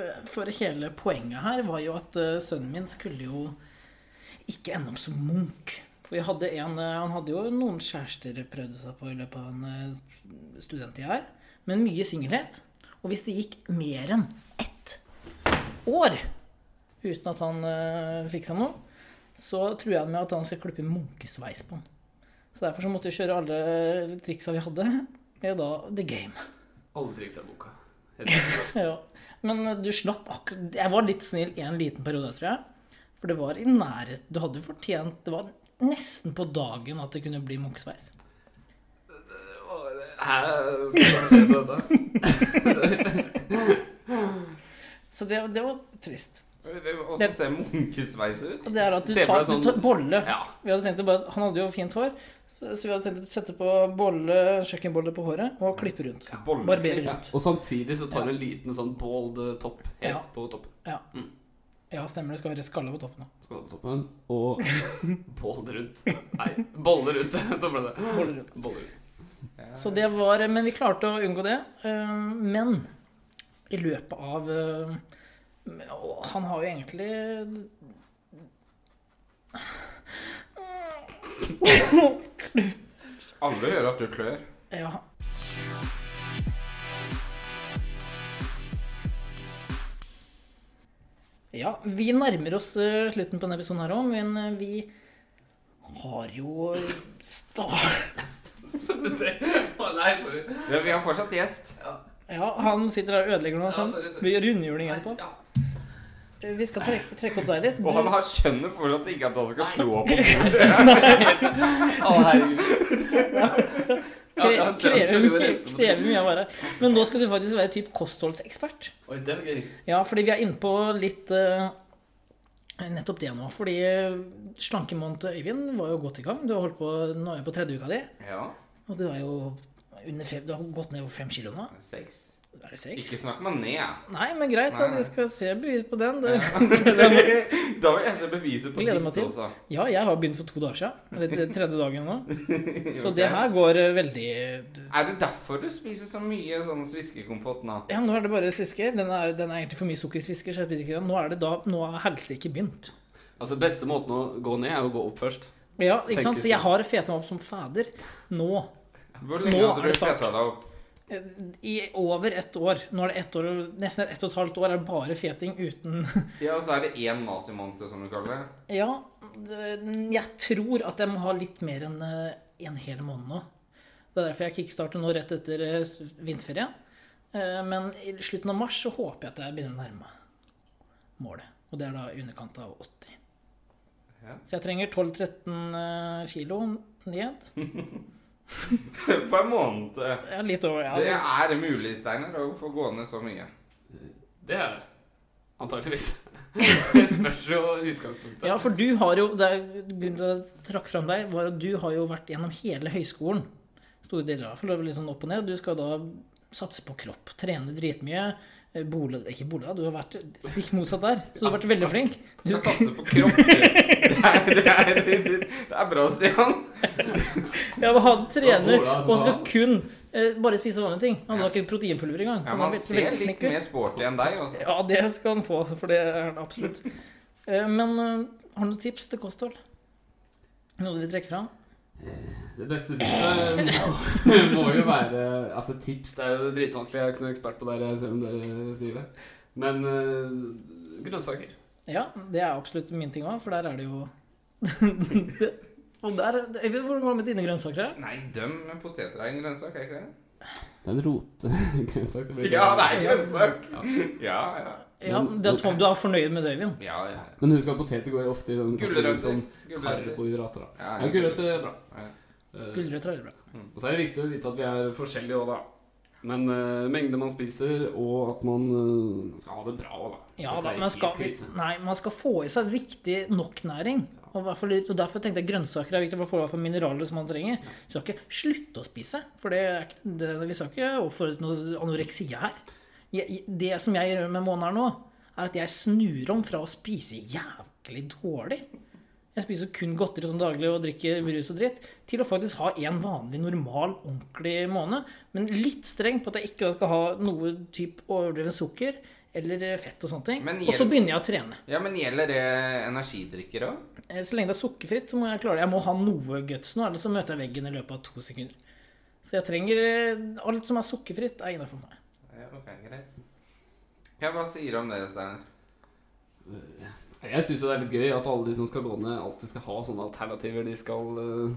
Eh, For hele poenget her var jo at eh, sønnen min skulle jo ikke ende opp som munk. For vi hadde en, eh, han hadde jo noen kjærester prøvde seg på i løpet av en eh, studenttid her. Men mye singelhet. Og hvis det gikk mer enn ett år uten at han eh, fikk seg noe, så trua han med at han skal klippe munkesveis på han. Så derfor så måtte vi kjøre alle triksa vi hadde, med da The Game. Alle triks er boka. Ja. Men eh, du slapp akkurat Jeg var litt snill i en liten periode, tror jeg. For det var i nærhet Du hadde fortjent Det var nesten på dagen at det kunne bli munkesveis. Hæ? Skal jeg kommentere på dette? Så det, det var trist. Åssen ser munkesveis ut? Og det er at du Se for tar, deg sånn- du tar bolle. Ja. Vi hadde tenkt å bare, han hadde jo fint hår, så, så vi hadde tenkt å sette på bolle, kjøkkenbolle på håret og klippe rundt. Barbere Bolleklipp. rundt. Og samtidig så tar du en liten sånn bold topp helt Ja. på toppen. Mm. Ja, stemmer det. Skal være skalle på toppen. da. Skal du på toppen, og bold rundt. Nei, bolle rundt. Så ble det. Bolle rundt. Bolle rundt. Så det var Men vi klarte å unngå det. Eh, Men i løpet av eh, og Han har jo egentlig Alle hører at du klør. Ja. Ja, vi nærmer oss eh, slutten på denne episoden her òg, men eh, vi har jo sta- Så det- Å, nei, sorry. Ja, vi har fortsatt gjest. Ja, han sitter der og ødelegger noe Ja, sånn. sorry, sorry. Vi gjør rundhjuling etterpå. Ja. Vi skal trekke, trekke opp deg litt. Og han Du, har skjønner fortsatt ikke at han skal slå på Å, herregud. Ja, ja, kre- det- krever, det var mye- rett. krever mye av deg. Men nå skal du faktisk være typ kostholdsekspert. Oi, det var gøy. Ja, fordi vi er inne på litt eh, nettopp det nå. Fordi slankemåneden til Øyvind var jo godt i gang. Du har holdt på, nå er vi på tredje uka di. Ja. Og du er jo under fem, du har gått ned over fem kilo nå. Seks. Er det Ikke seks? snakk meg ned. Nei, men greit. Nei, da, nei. Vi skal se bevis på den. Det, Da vil jeg se beviset på Gleder ditt meg til. også. ja, jeg har begynt for to dager siden. Eller det- tredje dagen nå. Så det her går eh, veldig Er det derfor du spiser så mye sånn sviskekompott nå? Ja, nå er det bare svisker. Den er, den er egentlig for mye sukker i svisker, så jeg spiser ikke den. Nå er det da, nå er helse ikke begynt. Altså, beste måten å gå ned, er å gå opp først. Ja, ikke Tenkes sant? Så det. jeg har feta meg opp som fader nå. Hvor lenge Nå er hadde det du start. fetta deg opp? I over ett år. Nå er det ett år, og- nesten ett og et halvt år er bare feting uten Ja, og så er det én nazimåned, som du kaller det. Ja, det- jeg tror at jeg må ha litt mer enn eh, en hel måned nå. Det er derfor jeg kickstarter nå rett etter eh, s- vinterferien. Eh, Men i slutten av mars så håper jeg at jeg begynner å nærme meg målet. Og det er da i underkant av 80. Ja. Så jeg trenger 12-13 eh, kilo ned. På en måned. Jeg er litt over, ja. Det Altså, er mulig, Steinar, å få gå ned så mye. Det er det. Antakeligvis. Det spørs jo utgangspunktet. ja, for du har jo det er, Grunnen til at jeg trakk fram deg, var at du har jo vært gjennom hele høyskolen. Store deler av for det er vel litt sånn opp og ned. Du skal da satse på kropp, trene dritmye. eh, Bole, ikke bole, du har vært stikk motsatt der. Så du har vært veldig flink. Du skal satse på kropp. du. Det er, det er, det er bra, Stian. Ja, men han trener Bola, altså, og skal da- kun eh, bare spise vanlige ting. Han har ikke proteinpulver engang. så Ja, han er man veldig- ser veldig litt flink ut. mer sporty enn deg. altså. Også. Ja, det skal han få, for det er han absolutt. Eh, Men eh, har du noen tips til kosthold? Noe du vil trekke fram? Det beste tipset må, må jo være Altså, tips det er jo dritvanskelig. Jeg er ikke noen ekspert på det, her, selv om dere sier det. Men eh, grønnsaker. Ja, det er absolutt min ting òg, for der er det jo Og der Øyvind, Hvordan går det med dine grønnsaker? Nei, døm med poteter er en grønnsak, er ikke det? Det er en rotegrønnsak. Ja, det er grønnsak. Ja, ja. Ja, Men- det er Tom, du er fornøyd med det, Øyvind? ja, ja. Men husk at poteter går jo ofte i den kategorien Gulrøtter. som Gulrøtter. karbohydrater. da. Ja, Ja, gulrøtter er bra. Ja. Eh, Gulrøtter er veldig bra. Og så er det viktig å vite at vi er forskjellige òg, da. Men eh, mengde man spiser, og at man eh, skal ha det bra òg, da. Skal Ja ikke da, være man helt skal, krise. nei, man skal få i seg viktig nok næring. Og, i hvert fall, og Derfor tenkte jeg grønnsaker er viktig for å få i hvert fall mineraler som man trenger. Så skal ikke slutte å spise. For det er ikke, det, vi skal ikke oppfordre til noe anoreksia her. Jeg, det som jeg gjør med måneder nå, er at jeg snur om fra å spise jævlig dårlig Jeg spiser kun godteri som daglig og drikker brus og dritt, til å faktisk ha en vanlig, normal, ordentlig måned. Men litt streng på at jeg ikke skal ha noe type overdreven sukker eller fett og sånne ting. Men Og så hjelp- begynner jeg å trene. ja, men gjelder det energidrikker òg? Eh, Så lenge det er sukkerfritt, så må jeg klare det. Jeg må ha noe guts nå, ellers så møter jeg veggen i løpet av to sekunder. Så jeg trenger eh, Alt som er sukkerfritt, er innafor meg. Ja, ok, greit. Ja, hva sier du om det, Steinar? Jeg syns det er litt gøy at alle de som skal gå ned, alltid skal ha sånne alternativer de skal eh,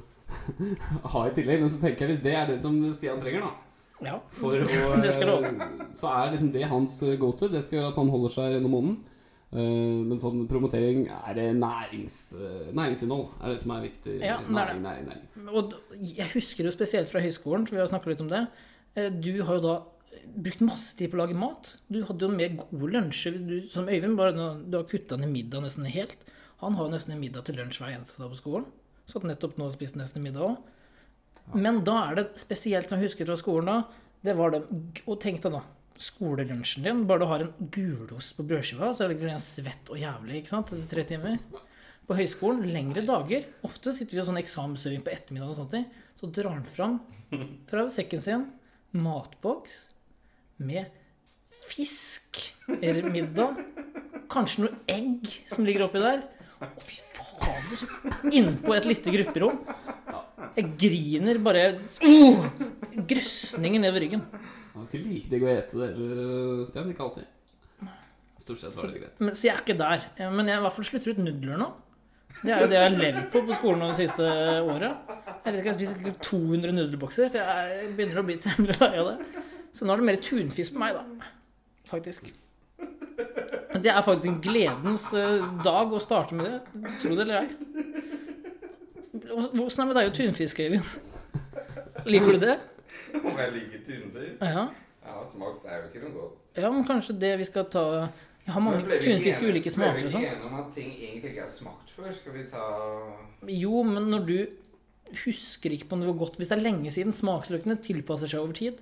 ha i tillegg. Men så tenker jeg hvis det er det som Stian trenger, da Ja. for å, Det skal du Så er liksom det hans go to. Det skal gjøre at han holder seg gjennom måneden. Eh, Men sånn promotering er det nærings, eh, næringsinnhold er det som er viktig. Ja, det er det. næring, næring, næring. Og d- jeg husker jo spesielt fra høyskolen, for vi har snakket litt om det. Eh, Du har jo da brukt masse tid på å lage mat. Du hadde jo mer gode lunsjer. Du, som Øyvind, bare nå- du har kutta ned middag nesten helt. Han har jo nesten en middag til lunsj hver eneste dag på skolen. Satt nettopp nå og spiste nesten middag òg. Men da er det spesielt som jeg husker fra skolen da, det var det Og tenk deg da, skolelunsjen din. Bare du har en gulost på brødskiva, så ligger den svett og jævlig ikke sant, etter tre timer. På høyskolen, lengre dager. Ofte sitter vi og sånn eksamensøving på ettermiddagen og sånne ting. Så drar han fram fra sekken sin matboks med fisk eller middag. Kanskje noe egg som ligger oppi der. Å, fy fader! Innpå et lite grupperom. Jeg griner bare uh, Grøsninger nedover ryggen. Han har ikke like digg å ete det heller, Stian. Ikke alltid. Stort sett var det greit. Men, så jeg er ikke der. Eh, Men jeg i hvert fall slutter ut nudler nå. Det er jo det jeg har levd på på skolen over det siste året. Jeg vet ikke, jeg spiser sikkert 200 nudelbokser, for jeg begynner å bli temmelig lei av det. Så nå er det mer tunfisk på meg, da. Faktisk. Men Det er faktisk en gledens eh, dag å starte med det. Tro det eller ei. Åssen er det med deg og tunfisk, Øyvind? Liker du det? Om jeg liker tunfisk? Ja. Ja, smak det er jo ikke noe godt. ja, men kanskje det vi skal ta Jeg har Men mange ble vi ikke tunfisk i enige- ulike smaker og Ble vi sånn. ikke enige om at ting egentlig ikke er smakt før? Skal vi ta Jo, men når du husker ikke på noe godt Hvis det er lenge siden, smaksløkene tilpasser seg over tid.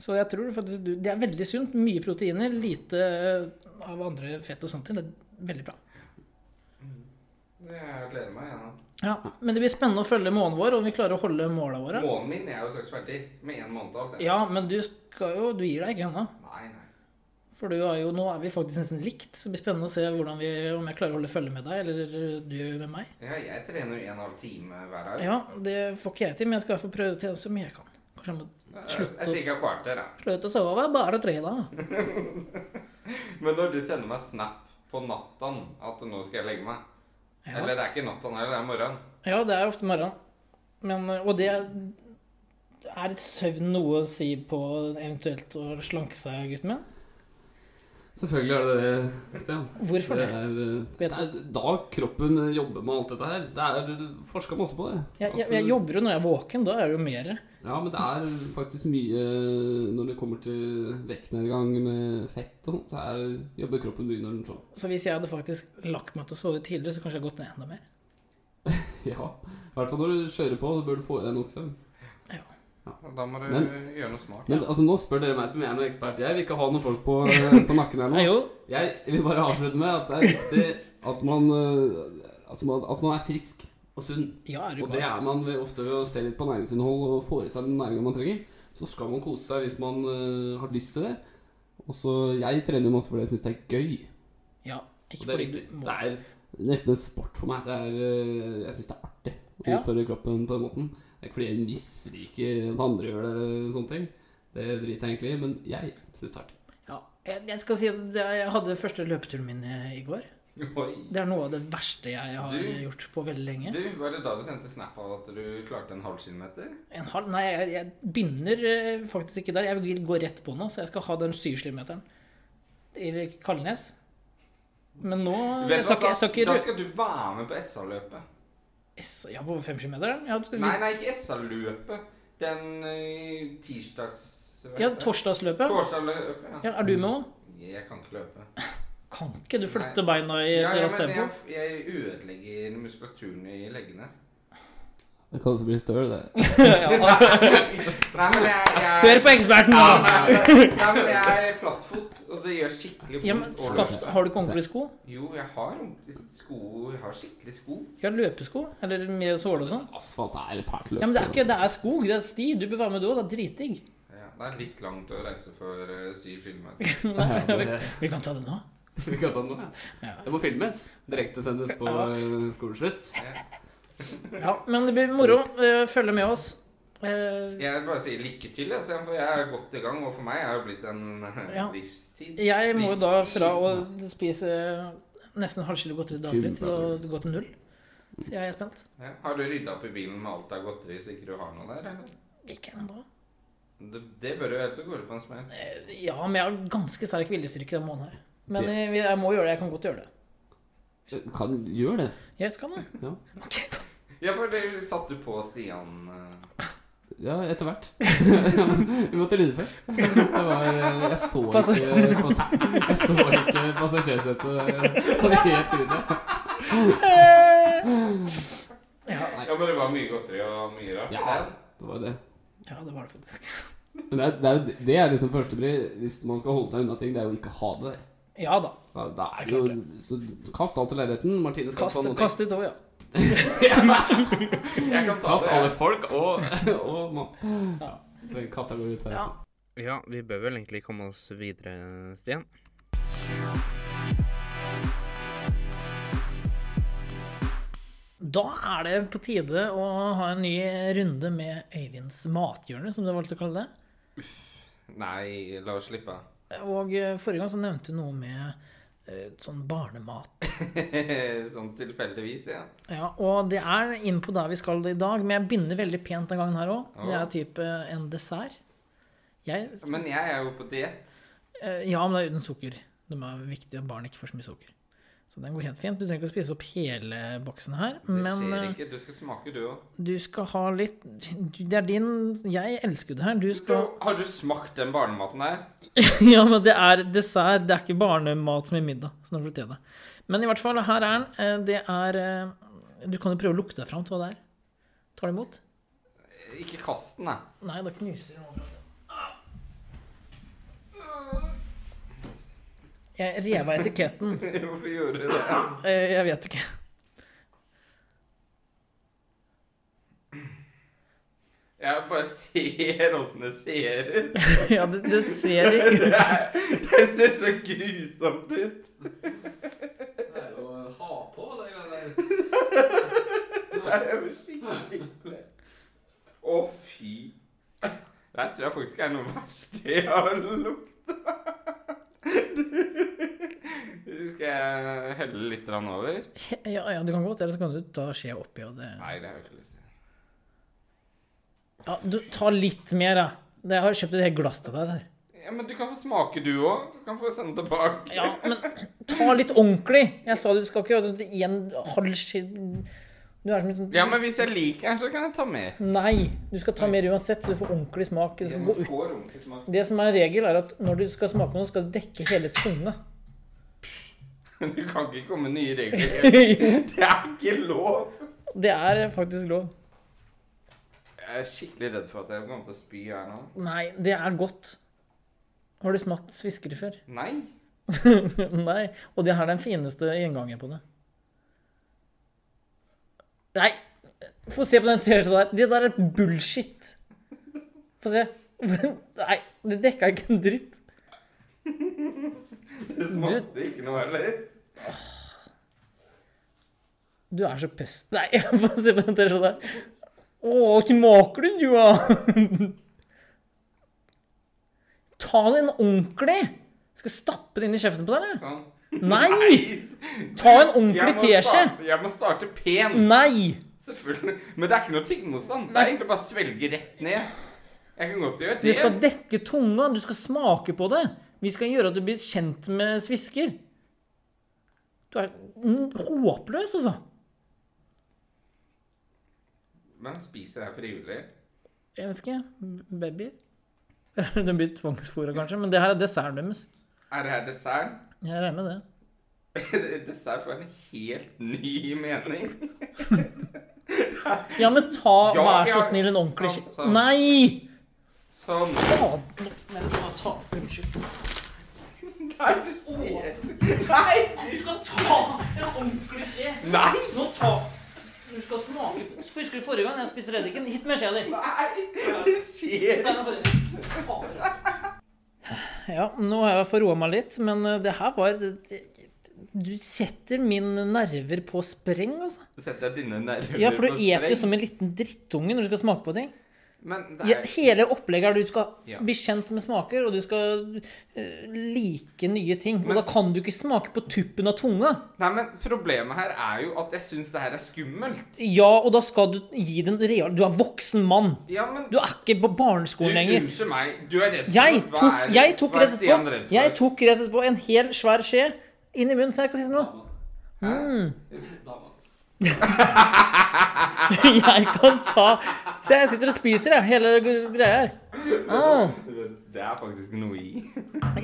Så jeg tror faktisk du Det er veldig sunt. Mye proteiner, lite eh, av andre fett og sånt. Det er veldig bra. Jeg gleder meg. Ja. Ja, Men det blir spennende å følge månen vår, og om vi klarer å holde måla våre. Månen min er jo straks ferdig. Med én måned alt. det. Ja, men du skal jo Du gir deg ikke ennå. Nei, nei. For du er jo, nå er vi faktisk nesten likt, så det blir spennende å se hvordan vi, om jeg klarer å holde følge med deg, eller du med meg. Ja, jeg trener jo en og en halv time hver dag. Ja, det får ikke jeg til, men jeg skal i hvert fall prøve til så mye jeg kan. Kanskje jeg må Slutt Eh, slutte Jeg å sier ikke et kvarter, da. Slutt å sove, bare tre da. Men når du sender meg snap på natten at nå skal jeg legge meg Ja. Eller det er ikke natten heller, det er morgenen. ja, det er ofte morgenen. Men, og det er søvn noe å si på eventuelt å slanke seg, gutten min? Selvfølgelig er det det, Stian. Hvorfor det? det? Er, det Vet er da kroppen jobber med alt dette her. Det er forska masse på det. Jeg, jeg, At, eh, jeg jobber jo når jeg er våken, da er det jo mer. Ja, men det er faktisk mye eh, når det kommer til vektnedgang med fett og sånn, så er, jobber kroppen mye når den sånn. Så hvis jeg hadde faktisk lagt meg til å sove tidligere, så kanskje jeg hadde gått ned enda mer. Ja. I hvert fall når du kjører på, så bør du få i deg nok søvn. Så Da må du Men- gjøre noe smart. Men altså, nå spør dere meg som jeg er noen ekspert. Jeg vil ikke ha noen folk på, eh, på nakken her Nei, nå. jo, Jeg vil bare avslutte med at det er viktig at man, eh, altså, man- at man er frisk og sunn. ja, er du Og det gal. er man ved, ofte ved å se litt på næringsinnhold og få i seg den næringa man trenger. Så skal man kose seg hvis man øh, har lyst til det. Og så Jeg trener jo masse fordi jeg syns det er gøy. Ja, Og ikke det er fordi viktig. du må. Det er nesten en sport for meg. Det er, øh, jeg syns det er artig å Ja. utfordre kroppen på den måten. Det er ikke fordi jeg misliker at andre gjør det eller sånne ting. Det driter jeg egentlig i, men jeg syns det er artig. Ja, jeg, jeg skal si at det- jeg hadde første løpeturen min i i går. Oi. Det er noe av det verste jeg har Du- gjort på veldig lenge. Du, var det da du sendte snap av at du klarte en halv kilometer? En halv? Nei, jeg, jeg begynner eh, faktisk ikke der. Jeg vil gå rett på nå, så jeg skal ha den 7 kilometeren i Kalnes. Men nå Vet du Jeg skal hva, ikke, jeg skal ikke da, da rø- skal du være med på SA-løpet. S- Ja, på 5 kilometeren? Ja, du- Nei, nei, ikke SA-løpet. Den ø, tirsdags... ja torsdagsløpet. Torsdagsløpet, ja. Ja, er du med òg? Jeg kan ikke løpe. Kan ikke du flytte beina i et Ja, ja, raskt men tempo? jeg, jeg ødelegger muskulaturen i leggene. Det kan også bli støl, det. Ja, Nei, men jeg, jeg Hør på eksperten, da! Nei, men- nei, men jeg er plattfot, og det gjør skikkelig Ja, men, vondt. å skaft, løpe. har du ikke ordentlige sko? Jo, jeg har ordentlig sko. Jeg har skikkelig sko. Ja, løpesko? Eller med såle og sånn? Asfalt er fælt løp. Ja, men det er ikke Det er skog, det er sti. Du bør være med, du òg. Det er dritdigg. Ja, det er litt langt å reise for eh, syv kilometer. altså. Vi kan ta det nå. Vi kan ta den nå. Ja. Det må filmes. Direktesendes på Ja. øh, skoleslutt. Ja, men det blir moro. Eh, Følg med oss. Eh, Jeg bare sier lykke til, jeg, Stian, for jeg er godt i gang. Og for meg er det blitt en eh, Ja. livstid. Jeg må jo da fra å spise eh, nesten en halv kilo godteri daglig til å Gymplatters. gå til null. Så jeg er spent. Ja. Har du rydda opp i bilen med alt av godteri, så ikke du har noe der? Eller? Ikke ennå. Det, det bør jo ellers så går det på en smell. Eh, Ja, men jeg har ganske sterk viljestyrke denne måneden her. Men Det- eh, jeg må gjøre det. Jeg kan godt gjøre det. Kan gjøre det. Jeg skal det. Ja. Ok, da. Ja, for det satt du på Stian eh, Ja, etter hvert. Vi måtte lyde først. Det var, eh, jeg så ikke Passa- pass- Jeg så ikke passasjersetet på helt videre. Ja, Ja, men det var mye godteri og mye rart. Ja. Det var jo det. ja, det var det faktisk. Men det er, det er, jo- det er liksom førstebry hvis man skal holde seg unna ting. Det er jo ikke ha det der. Ja da. Da, da er det jo, så kast alt i leiligheten. Martine skal Kast, ikke ta noe. kast ut òg, ja. Jeg kan ta Kast det. alle jeg. folk og, og mann. Ja. Katta går ut her. ja. Ja, vi bør vel egentlig komme oss videre, Stian. Da er det på tide å ha en ny runde med Øyvinds mathjørne, som du valgte å kalle det. Nei, la oss slippe. Og eh, forrige gang så nevnte du noe med eh, sånn barnemat. sånn tilfeldigvis, ja. Ja, og det er inn på der vi skal i dag, men jeg begynner veldig pent den gangen her òg. Det Ja. er type eh, en dessert. Jeg, Men jeg er jo på diett. eh, ja, men det er uten sukker. Det er viktig at barn ikke får så mye sukker. Så den går helt fint. Du trenger ikke å spise opp hele boksen her. Det men skjer eh, ikke. Du skal smake, du òg. du skal ha litt du- Det er din Jeg elsker det her. Du skal Har du smakt den barnematen der? Ja, men det er dessert. Det er ikke barnemat som i middag. Så nå får du til det. Men i hvert fall, her er den. Eh, Det er eh, Du kan jo prøve å lukte deg fram til hva det er. Tar du imot? Ikke kast den, da. Nei, da knuser den overalt. Jeg rev av etiketten. Hvorfor gjorde du det? Eh, Jeg vet ikke. Jeg bare ser åssen det ser ut. Ja, det, det ser ikke Det, er- det ser så grusomt ut. Det er jo å ha på, det greiene Det der. er jo skikkelig ille. Å, fy. Det her tror jeg faktisk er noe verst jeg har lukta. Skal jeg helle litt grann over? ja, ja, du kan godt, eller så kan du ta skjea oppi og det Nei, det har jeg ikke lyst til. Ja, du, ta litt mer, da. Det- Jeg har kjøpt et helt glass til deg der. Ja, men du kan få smake, du òg. Du kan få sende tilbake. Ja, men ta litt ordentlig. Jeg sa du skal ikke gjøre det i en halv skje- Du er som en Ja, men hvis jeg liker den, så kan jeg ta mer. Nei, du skal ta mer uansett, så du får ordentlig smak. Det skal gå ut får ordentlig smak. Det som er en regel, er at når du skal smake noe, skal du dekke hele tunga. Du kan ikke komme med nye regler. Jo, Det er ikke lov. det er faktisk lov. Jeg er skikkelig redd for at jeg kommer til å spy her nå. Nei, det er godt. Har du smakt sviskere før? Nei. Nei. Og det her er den fineste inngangen på det. Nei, få se på den T-skjorta der. Det der er bullshit. Få se. Nei, det dekka ikke en dritt. Det smakte ikke noe heller. Du er så pøst. Nei, få se på den T-skjorta der. Å, smaker du, du, da? Ta den ordentlig! Skal jeg stappe den inn i kjeften på deg, Sånn. eller? Nei! Ta en ordentlig Jeg må teskje! starte- Jeg må starte pen. Nei! Selvfølgelig. Men det er ikke noe tyggemotstand. Det er egentlig bare å svelge rett ned. Jeg kan godt gjøre Det det. skal dekke tunga. Du skal smake på det. Vi skal gjøre at du blir kjent med svisker. Du er mm, håpløs, altså. Men han spiser her frivillig. Jeg vet ikke. Baby? De blir tvangsfôra, kanskje. Men det her er desserten deres. Er det her dessert? Jeg regner med det. dessert får en helt ny mening. Ja, men ta Ja, Vær så ja. snill, en ordentlig Sånn, kje- sånn. Nei! Sånn. Faen! Men bare ta Unnskyld. Nei, du skjer. Nei! Du skal ta en ordentlig skje! Nei! Nå ta Du skal smake på Husker du forrige gang jeg spiste reddiken? Hit med skjea di. Nei! Det skjer. Ja, nå har jeg fått roa meg litt, men eh, det her var det- det- Du setter mine nerver på spreng, altså. Setter jeg dine nerver Ja, for på du eter jo spreng? som en liten drittunge når du skal smake på ting. Men det Ja, er hele opplegget er du skal Ja. bli kjent med smaker, og du skal eh, like nye ting. Men- Og da kan du ikke smake på tuppen av tunga. Nei, men problemet her er jo at jeg syns det her er skummelt. Ja, og da skal du gi den real... Du er voksen mann. Ja, men Du er ikke på barneskolen lenger. Unnskyld meg, du er redd for Jeg hva tok, er- jeg tok hva er rett Stian etterpå redd for? Jeg tok rett etterpå en hel svær skje inn i munnen. Så jeg kan si noe. Mm. Hæ? Jeg kan ta Se, jeg sitter og spiser, jeg. Hele gre- greia her. Ah. Det er faktisk noe i.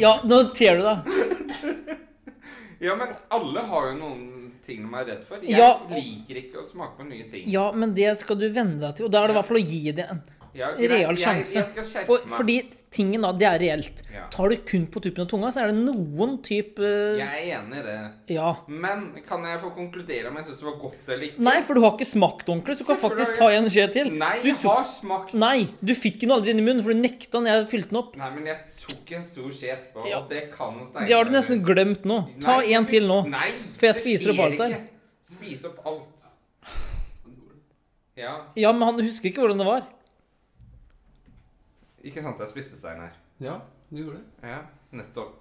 Ja, nå ter du deg. Ja, men alle har jo noen ting de er redd for. Jeg Ja. liker ikke å smake på nye ting. Ja, men det skal du venne deg til. Og da er det i hvert fall å gi det en Ja, greit, real Jeg, jeg sjanse. skal skjerpe Og meg. fordi tingen da, det er reelt. Ja. Tar du kun på tuppen av tunga, så er det noen type Jeg er enig i det. Ja. Men kan jeg få konkludere om jeg syns det var godt eller ikke? Nei, for du har ikke smakt ordentlig, så du kan Selvfølgelig faktisk ta har jeg- en skje til. Nei, Du jeg tok- har smakt Nei, du fikk den aldri inn i munnen, for du nekta når jeg fylte den opp. Nei, men jeg tok en stor skje etterpå, Ja. og det kan steine Det har du nesten glemt nå. Ta Nei, en til nå. Nei, For jeg det spiser opp skjer alt her. ikke. Spis opp alt. Ja, Ja, men han husker ikke hvordan det var. ikke sant jeg spiste stein her. Ja, du gjorde det. Ja, nettopp.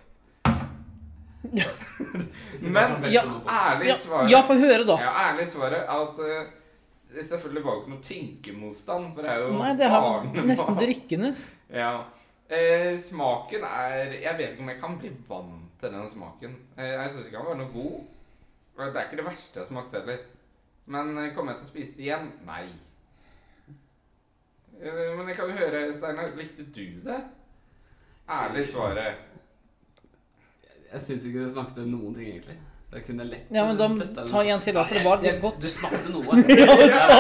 Men sånn Ja, ærlig Ja, svar ja få høre, da. Ja, ærlig svaret er at eh, det selvfølgelig var jo ikke noe tynkemotstand, for det er jo Nei, det er barnemat. nesten drikkende. Ja. Eh, smaken er Jeg vet ikke om jeg kan bli vant til den smaken. Eh, jeg syns ikke den var noe god. Og Det er ikke det verste jeg smakte heller. Men eh, kommer jeg til å spise det igjen? Nei. Eh, men jeg kan jo høre, Steinar, likte du det? Ærlig svaret. Jeg syns ikke det smakte noen ting, egentlig. Så jeg kunne lett Ja, men da ta en til, da, for det var litt godt. Det smakte noe. Ja, da,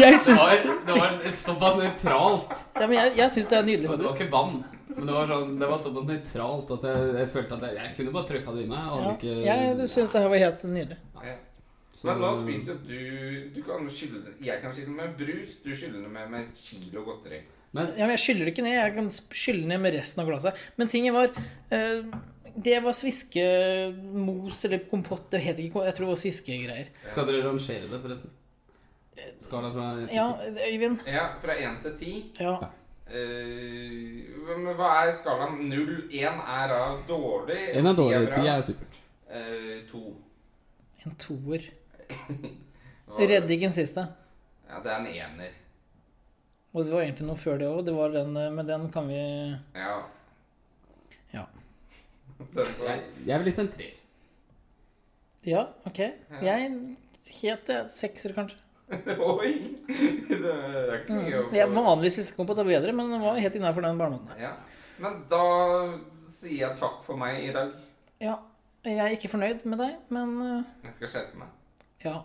jeg Det syns, var, det var litt såpass nøytralt. ja, men jeg, jeg syns det er Det var, det nydelig. var ikke vann. Men det var, sånn, det var såpass nøytralt at jeg, jeg følte at jeg, jeg kunne bare trykka det i meg. Ja, Jeg hadde jeg ikke syns det her var helt nydelig. Ja. Så- Men nå spiser jo du Du kan jo skylle Jeg kan skylle med brus, du skyller det med med et kilo godteri. Men Ja, men jeg skyller det ikke ned. Jeg kan sp- skylle ned med resten av glasset. Men tingen var eh, Det var sviskemos eller kompott. Det het ikke kom- Jeg tror det var sviskegreier. skal dere rangere det, forresten? Skala fra ett til Ja, ti? Øyvind. Ja, fra én til ti. Ja. Eh, men hva er skalaen? Null? Én er da dårlig? En er dårlig, bra. ti er supert. Eh, to. En toer. Hva- Reddiken siste. Ja, det er en ener. Og det var egentlig noe før det òg. Det var den eh, Men den kan vi Ja. Ja. Den får- Jeg, jeg vil litt en treer. Ja, OK. Jeg het det. Sekser, kanskje. Oi! Det er ikke mye å Mm. Jeg vanligvis visste ikke om at det var bedre, men den var helt innafor den barnematen. Ja. Men da sier jeg takk for meg i dag. Ja, jeg er ikke fornøyd med deg, men eh, Jeg skal skjerpe meg. ja.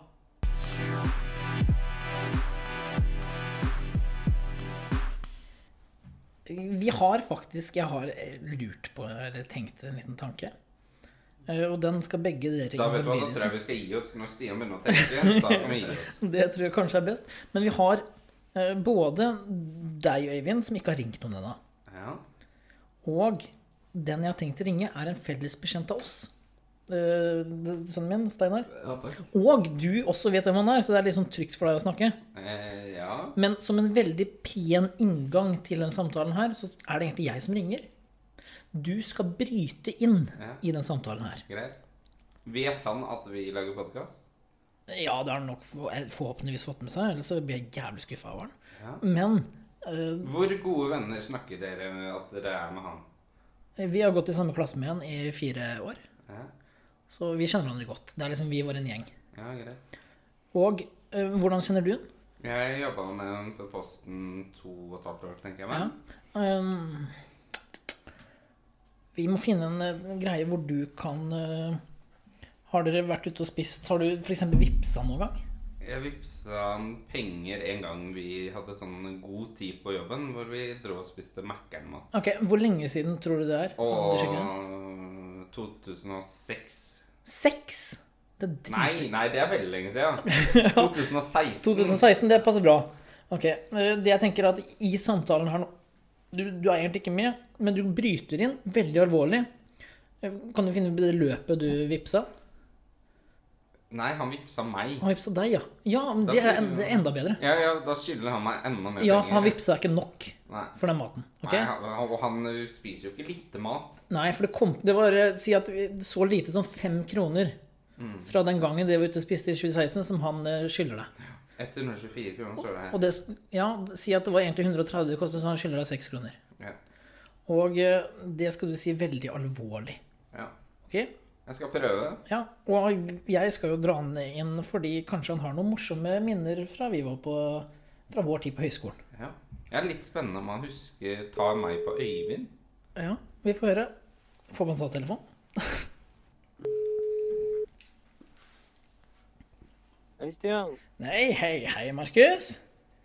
Vi har faktisk Jeg har eh, lurt på, eller tenkt en liten tanke. Eh, Og den skal begge dere Da vet du hva, da involveres tror jeg vi skal gi oss. Når Stian begynner å tenke, da kan vi gi oss. Det tror jeg kanskje er best. Men vi har eh, både deg, Øyvind, som ikke har ringt noen ennå, Ja. og den jeg har tenkt å ringe, er en felles bekjent av oss. Eh, d- Sønnen min, Steinar. Ja, takk. Og du også vet hvem han er, så det er litt sånn trygt for deg å snakke. Eh, ja. Men som en veldig pen inngang til den samtalen her, så er det egentlig jeg som ringer. Du skal bryte inn Ja. i den samtalen her. Greit. Vet han at vi lager podkast? Ja, det har han nok eh, forhåpentligvis fått med seg, ellers så blir jeg jævlig skuffa over han. Ja. Men eh, Hvor gode venner snakker dere at dere er med han? vi har gått i samme klasse med han i fire år, Ja, så vi kjenner hverandre godt. Det er liksom vi var en gjeng. ja greit. Og eh, hvordan kjenner du han? Jeg jobba med han på Posten to og et halvt år, tenker jeg meg. Ja. Ehm, vi må finne en eh, greie hvor du kan eh, Har dere vært ute og spist? Har du f.eks. vippsa noen gang? Jeg vippsa han penger en gang vi hadde sånn god tid på jobben, hvor vi dro og spiste Mækkern-mat. Ok, Hvor lenge siden tror du det er? Kan du sjekke det? Og 2006 Seks! Det er drit. Nei, nei, det er veldig lenge siden. 2016. 2016, det passer bra. Ok, eh, det jeg tenker er at I samtalen her nå du, du er egentlig ikke med, men du bryter inn veldig alvorlig. Eh, Kan du finne det løpet du vippsa? Nei, han vippsa meg. Han vippsa deg, ja. Ja, men det er, det er enda bedre. Ja, ja, Da skylder han meg enda mer Ja, for han penger. vippsa ikke nok Nei. for den maten. ok? Nei, han, han, og han spiser jo ikke lite mat. Nei, for det kom Det var eh, si at vi- så lite som fem kroner fra den gangen det var ute og spiste i 2016, som han eh, skylder deg. 124 kroner står det her. Og det, s- ja, si at det var egentlig 130 det kostet, så han skylder deg seks kroner. Ja. Og eh, det skal du si veldig alvorlig. Ja. Ok? Jeg skal prøve. Ja, og jeg skal jo dra han inn fordi kanskje han har noen morsomme minner fra vi var på Fra vår tid på høyskolen. Ja. Jeg er litt spennende om han husker tar meg på Øyvind. Ja, vi får høre. Får man ta telefonen? Hei, Stian. Nei, hei, hei, Markus.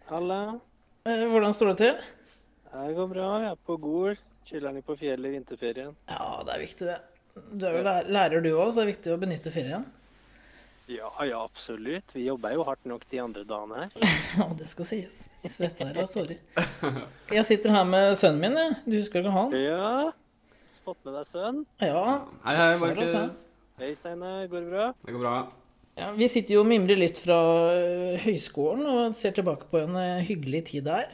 Halla. Eh, Hvordan står det til? Det går bra. Jeg er på Gol. Chiller litt på fjellet i vinterferien. Ja, det er viktig, det. Du er jo læ- lærer, du òg, så det er viktig å benytte ferien. Ja, ja, absolutt. Vi jobber jo hardt nok de andre dagene her. Ja, det skal sies. Jeg Svetter her og står i. Jeg sitter her med sønnen min, jeg. Du husker ikke han? Ja. Fått med deg sønn? Ja. Hei, hei, For oss, ja. Markus. Hei, Steinar. Går det bra? Det går bra. ja. Vi sitter jo og mimrer litt fra ø, høyskolen og ser tilbake på en ø, hyggelig tid der.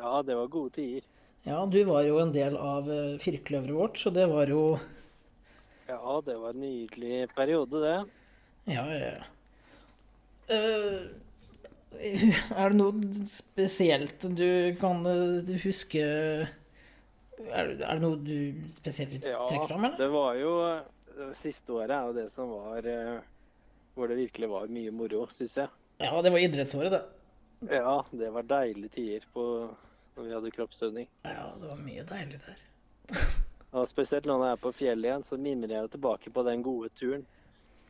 Ja, det var gode tider. øh, Ja, du var jo en del av ø, firkløveret vårt, så det var jo Ja, det var en nydelig periode, det. Ja, ja, ja. Eh, er det noe spesielt du kan eh, huske Er det, er det noe du spesielt vil trekke fram, eller? det var jo det Siste året er jo det som var eh, Hvor det virkelig var mye moro, syns jeg. Ja, det var idrettsåret, det. Ja, det var deilige tider på når vi hadde kroppsøving. Ja, det var mye deilig der. Og spesielt når jeg er på fjellet igjen, så mimrer jeg jo tilbake på den gode turen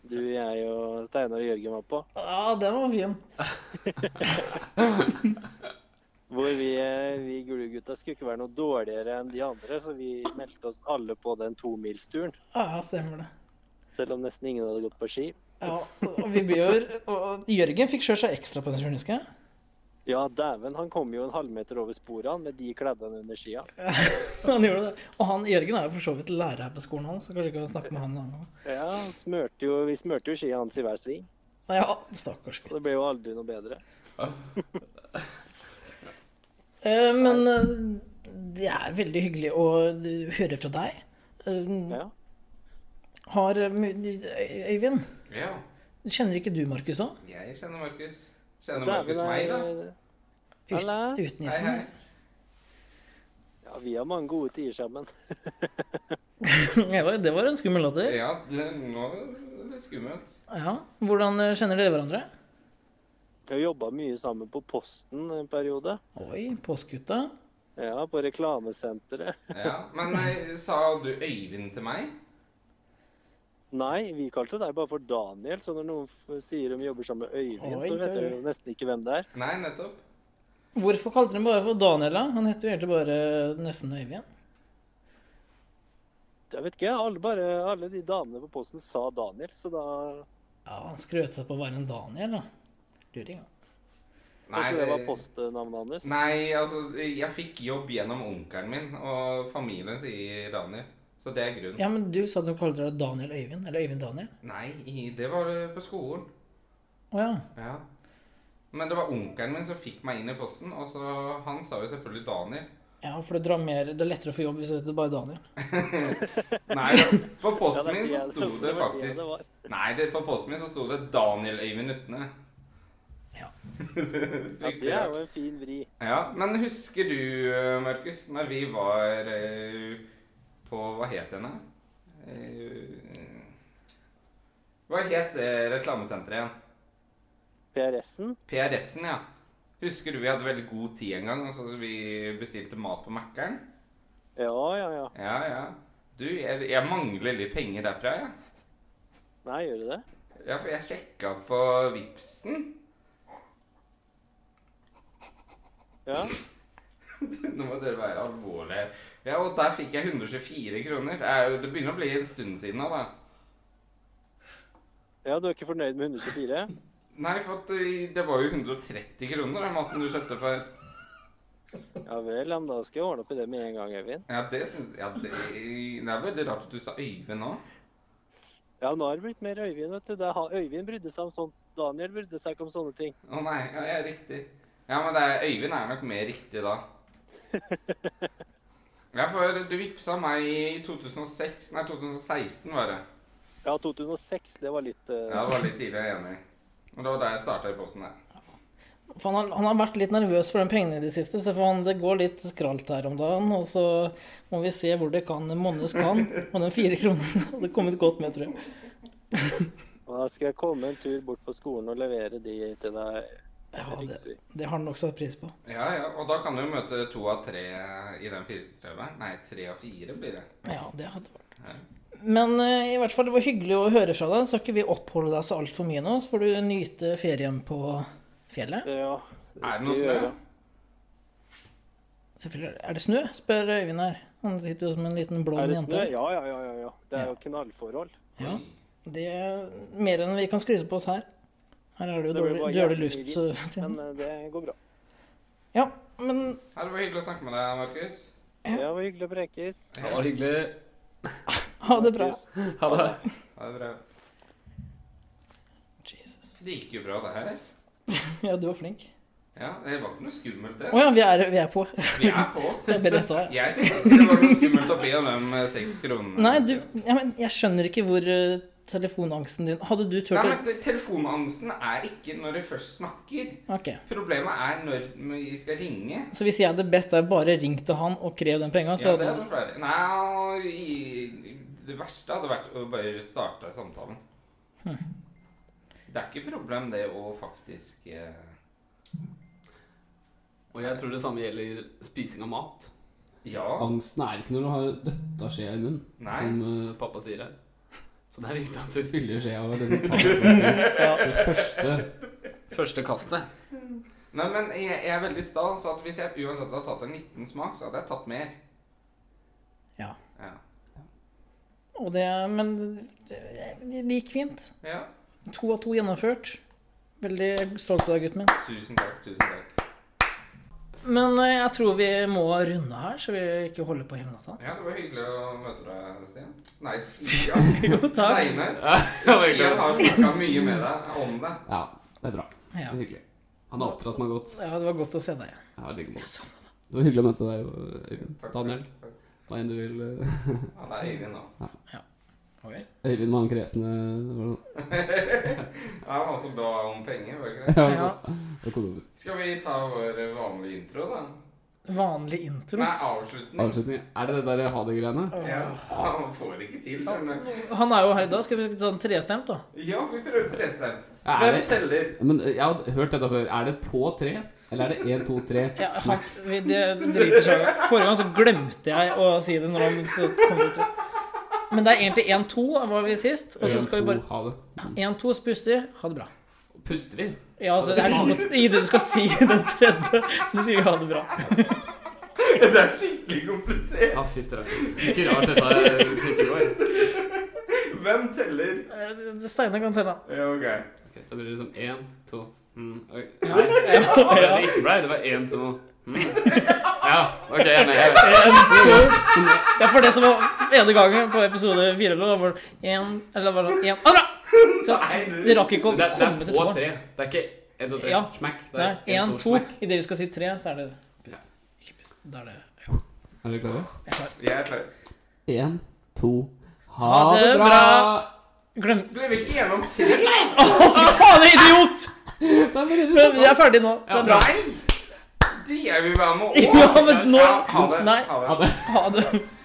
du, jeg og Steinar og Jørgen var på. Ja, den var fin. Hvor vi, eh, vi gullegutta skulle ikke være noe dårligere enn de andre, så vi meldte oss alle på den tomilsturen. Ja, stemmer det. Selv om nesten ingen hadde gått på ski. Ja, og vi ble jo Og Jørgen fikk kjørt seg ekstra på den turen, husker jeg. Ja, dæven, han kom jo en halvmeter over sporet han, med de kladdene under skia. Han gjorde det. Og han, Jørgen er jo for så vidt lærer her på skolen hans, så kanskje vi kan snakke med han en annen gang. Ja, han smørte jo, vi smørte jo skia hans i hver sving. Ja, stakkars Og det gutt. ble jo aldri noe bedre. Eh, Men eh, det er veldig hyggelig å eh, høre fra deg. Eh, Ja. Har eh, Øy- Øyvind, Ja, kjenner ikke du Markus òg? jeg kjenner Markus. Kjenner Markus meg, da? eh, Hallo? Uten Hei, hei. isen? Ja, vi har mange gode tider sammen. Ja, Det var en skummel latter. Ja, det, nå er det skummelt. Ja. Hvordan eh, kjenner dere hverandre? Vi har jobba mye sammen på Posten en periode. Oi, påskegutta. Ja, på reklamesenteret. Ja, Men eh, sa du Øyvind til meg? Nei, vi kalte deg bare for Daniel, så når noen f- sier de jobber sammen med Øyvind, Oi, så vet det er- jeg jo nesten ikke hvem det er. Nei, nettopp. Hvorfor kalte dere ham bare for Daniel, da? Han heter jo egentlig bare eh, nesten Øyvind. Jeg vet ikke, alle, bare, alle de damene på Posten sa Daniel, så da Ja, han skrøt seg på å være en Daniel, da. Luring, ja. Nei, Kanskje det var det- postnavnet hans? Nei, altså, jeg fikk jobb gjennom onkelen min, og familien sier Daniel. Så det er grunnen. Ja, men du sa at du kalte deg Daniel Øyvind, eller Øyvind Daniel. Nei, i- det var eh, på skolen. Å ja. Ja. Men det var onkelen min som fikk meg inn i posten, og så han sa jo selvfølgelig Daniel. Ja, for det, drar mer, det er lettere å få jobb hvis det heter bare Daniel. Nei, på Ja, posten det er min så det- sto det var det faktisk var. Nei, det, på posten min så sto det Daniel Øyvind Utne. Ja. Ja, Fryktelig det er rart. jo en fin vri. Ja, men husker du, eh, Markus, når vi var eh, på Hva het henne? Eh, Hva het eh, reklamesenteret igjen? PRS-en? PRS-en, ja. Husker du vi hadde veldig god tid en gang, og så vi bestilte mat på Mækkern? Ja, ja, ja. Ja, ja. Du, jeg, jeg mangler litt penger derfra, jeg. Nei, gjør du det? Ja. ja, for jeg sjekka på Vipsen. Ja. Nå må dere være alvorlige. Ja, og der fikk jeg 124 kroner. Det er jo- Det begynner å bli en stund siden nå, da. ja, du er ikke fornøyd med 124? Nei, for at eh, det var jo 130 kroner den maten du kjøpte for. Ja vel, ja, men da skal jeg ordne opp i det med en gang, Øyvind. Ja, det syns ja, det, det er veldig rart at du sa Øyvind nå. Ja, nå har det blitt mer Øyvind, vet du. Det er ha- Øyvind brydde seg om sånt. Daniel brydde seg ikke om sånne ting. Å nei, ja, jeg er riktig. Ja, men det er, Øyvind er nok mer riktig da. Ja, for du vippsa meg i 2006 Nei, 2016 var det. Ja, 2006, det var litt eh, Ja, det var litt tidlig, jeg er enig. Og det var da jeg starta i posten der. For han, har, han har vært litt nervøs for de pengene i det siste, så for han, det går litt skralt her om dagen. Og så må vi se hvor det kan monnes kan. Og de fire kronene hadde kommet godt med, tror jeg. Og Da skal jeg komme en tur bort på skolen og levere de til deg. Ja, det, Riksvy. det har han nok satt pris på. Ja, ja, og da kan du jo møte to av tre i den firerprøven. Nei, tre av fire blir det. Ja, det hadde vært. Ja. Men eh, i hvert fall, det var hyggelig å høre fra deg. Så ikke vi oppholde deg så altfor mye nå, så får du nyte ferien på fjellet. Ja, det Er det skal noe jeg snø? gjøre. Selvfølgelig. Er det snø? spør Øyvind her. Han sitter jo som en liten Er blond det snø? jente. Ja, ja, ja. ja, ja. Det er jo knallforhold. Ja. Oi. Det er mer enn vi kan skryte på oss her. Her er det jo Det blir dårlig, bare dårlig jævlig luft. mye så- Men eh, det går bra. Ja, men Ja, det var hyggelig å snakke med deg, Markus. Ja, det var hyggelig å prekes. Det var hyggelig. ha det bra. Markus. Ha det. Ha det bra. Jesus. Det gikk jo bra, det her. Ja, du var flink. Ja, det var ikke noe skummelt, Å det. ja, vi er, vi er på. Vi er på. Det er beretta, ja. Jeg syns ikke det var noe skummelt å be om de eh, seks kronene. Nei, du, ja, men jeg skjønner ikke hvor eh, telefonangsten din Hadde du Nei, turt å men det- Telefonangsten er ikke når du først snakker. Ok. Problemet er når vi skal ringe. Så hvis jeg hadde bedt deg bare ringt til han og krev den penga, så Ja, det hadde hadde vært flere. Nei, i- i- det verste hadde vært å bare starte samtalen. Hm. Det er ikke problem det å faktisk eh, Og jeg tror det samme gjelder spising av mat. Ja. Angsten er ikke når du har døtta skjea i munnen, Nei. som eh, pappa sier her. Så det er viktig at du fyller skjea og den tar det første, første kastet. Nei, men jeg, jeg er veldig sta, så at hvis jeg uansett hadde tatt en liten smak, så hadde jeg tatt mer. Ja. Ja. Og det Men det, det gikk fint. ja. To av to gjennomført. Veldig stolt av deg, gutten min. Tusen takk, tusen takk. Men eh, jeg tror vi må runde her, så vi ikke holder på hele natta. Ja, det var hyggelig å møte deg, Stian. Nei, Stian. Jo, takk. Steinar. Ja, Stian har snakka mye med deg om det. Ja, det er bra. Det Ja. er hyggelig. Han har oppdratt meg godt. ja, det var godt å se deg. Ja, i like måte. Jeg savner deg. Det var hyggelig å møte deg, Øyvind. Takk. Daniel, Takk. hva enn du vil. eh, Ja, det er Øyvind, da. Øyvind med han kresne hvordan- Ja, Han var også bra om penger. var det ikke det? Ja, Ja, økonomisk. Skal vi ta vår vanlige intro, da? vanlig intro. Nei, avslutning. Avslutning. Er det det der ha det-greiene? Åh. Ja, han får det ikke til. skjønner du. Han er jo her i dag. Skal vi ta den trestemt, da? Ja, vi prøver trestemt. Ja, er Hvem det- teller? Men eh, jeg har hørt dette før. Er det på tre? Eller er det én, to, tre? Ja, han, vi, det driter seg i. Forrige gang så glemte jeg å si det når han så kom det til. Men det er egentlig 1-2 var vi sist. Og så En, skal vi to, bare ha det. 1-2, så puster vi. Ha det bra. Puster vi? Ja, altså, det er liksom at I det du skal si den tredje, så sier vi ha det bra. Det er skikkelig komplisert. Ja, fytti rakkeren. Ikke rart dette er kulturår. Hvem teller? Eh, Steinar kan telle. Ja, ok. Ok, så blir det liksom én, to mm, ok. Ja. Det det ikke ble, det var én, to mm. Ja, ok, jeg er med. Jeg er med. Ja, for det som var ene gangen på episode fire, da var det en Eller var det sånn en, Ha det bra! Nei, Så du- det rakk ikke å Det, er- komme til det er på to. tre. Det er ikke én, to, tre. Ja. Smekk. Det Nei, er én, en, to. Idet vi skal si tre, så er det Ja. Ikke pust. Da er det ja. Er dere klare? Jeg har Jeg er klar. Én, to Ha Ha det det bra! glemt Ble vi ikke gjennom tre? Å, fy faen, idiot! Da blir det sånn. Vi er ferdige nå. Det er bra. Nei! De jeg vil være med Ja, men nå Ja, Ha det. Nei, Ha det. Ha det. ha det.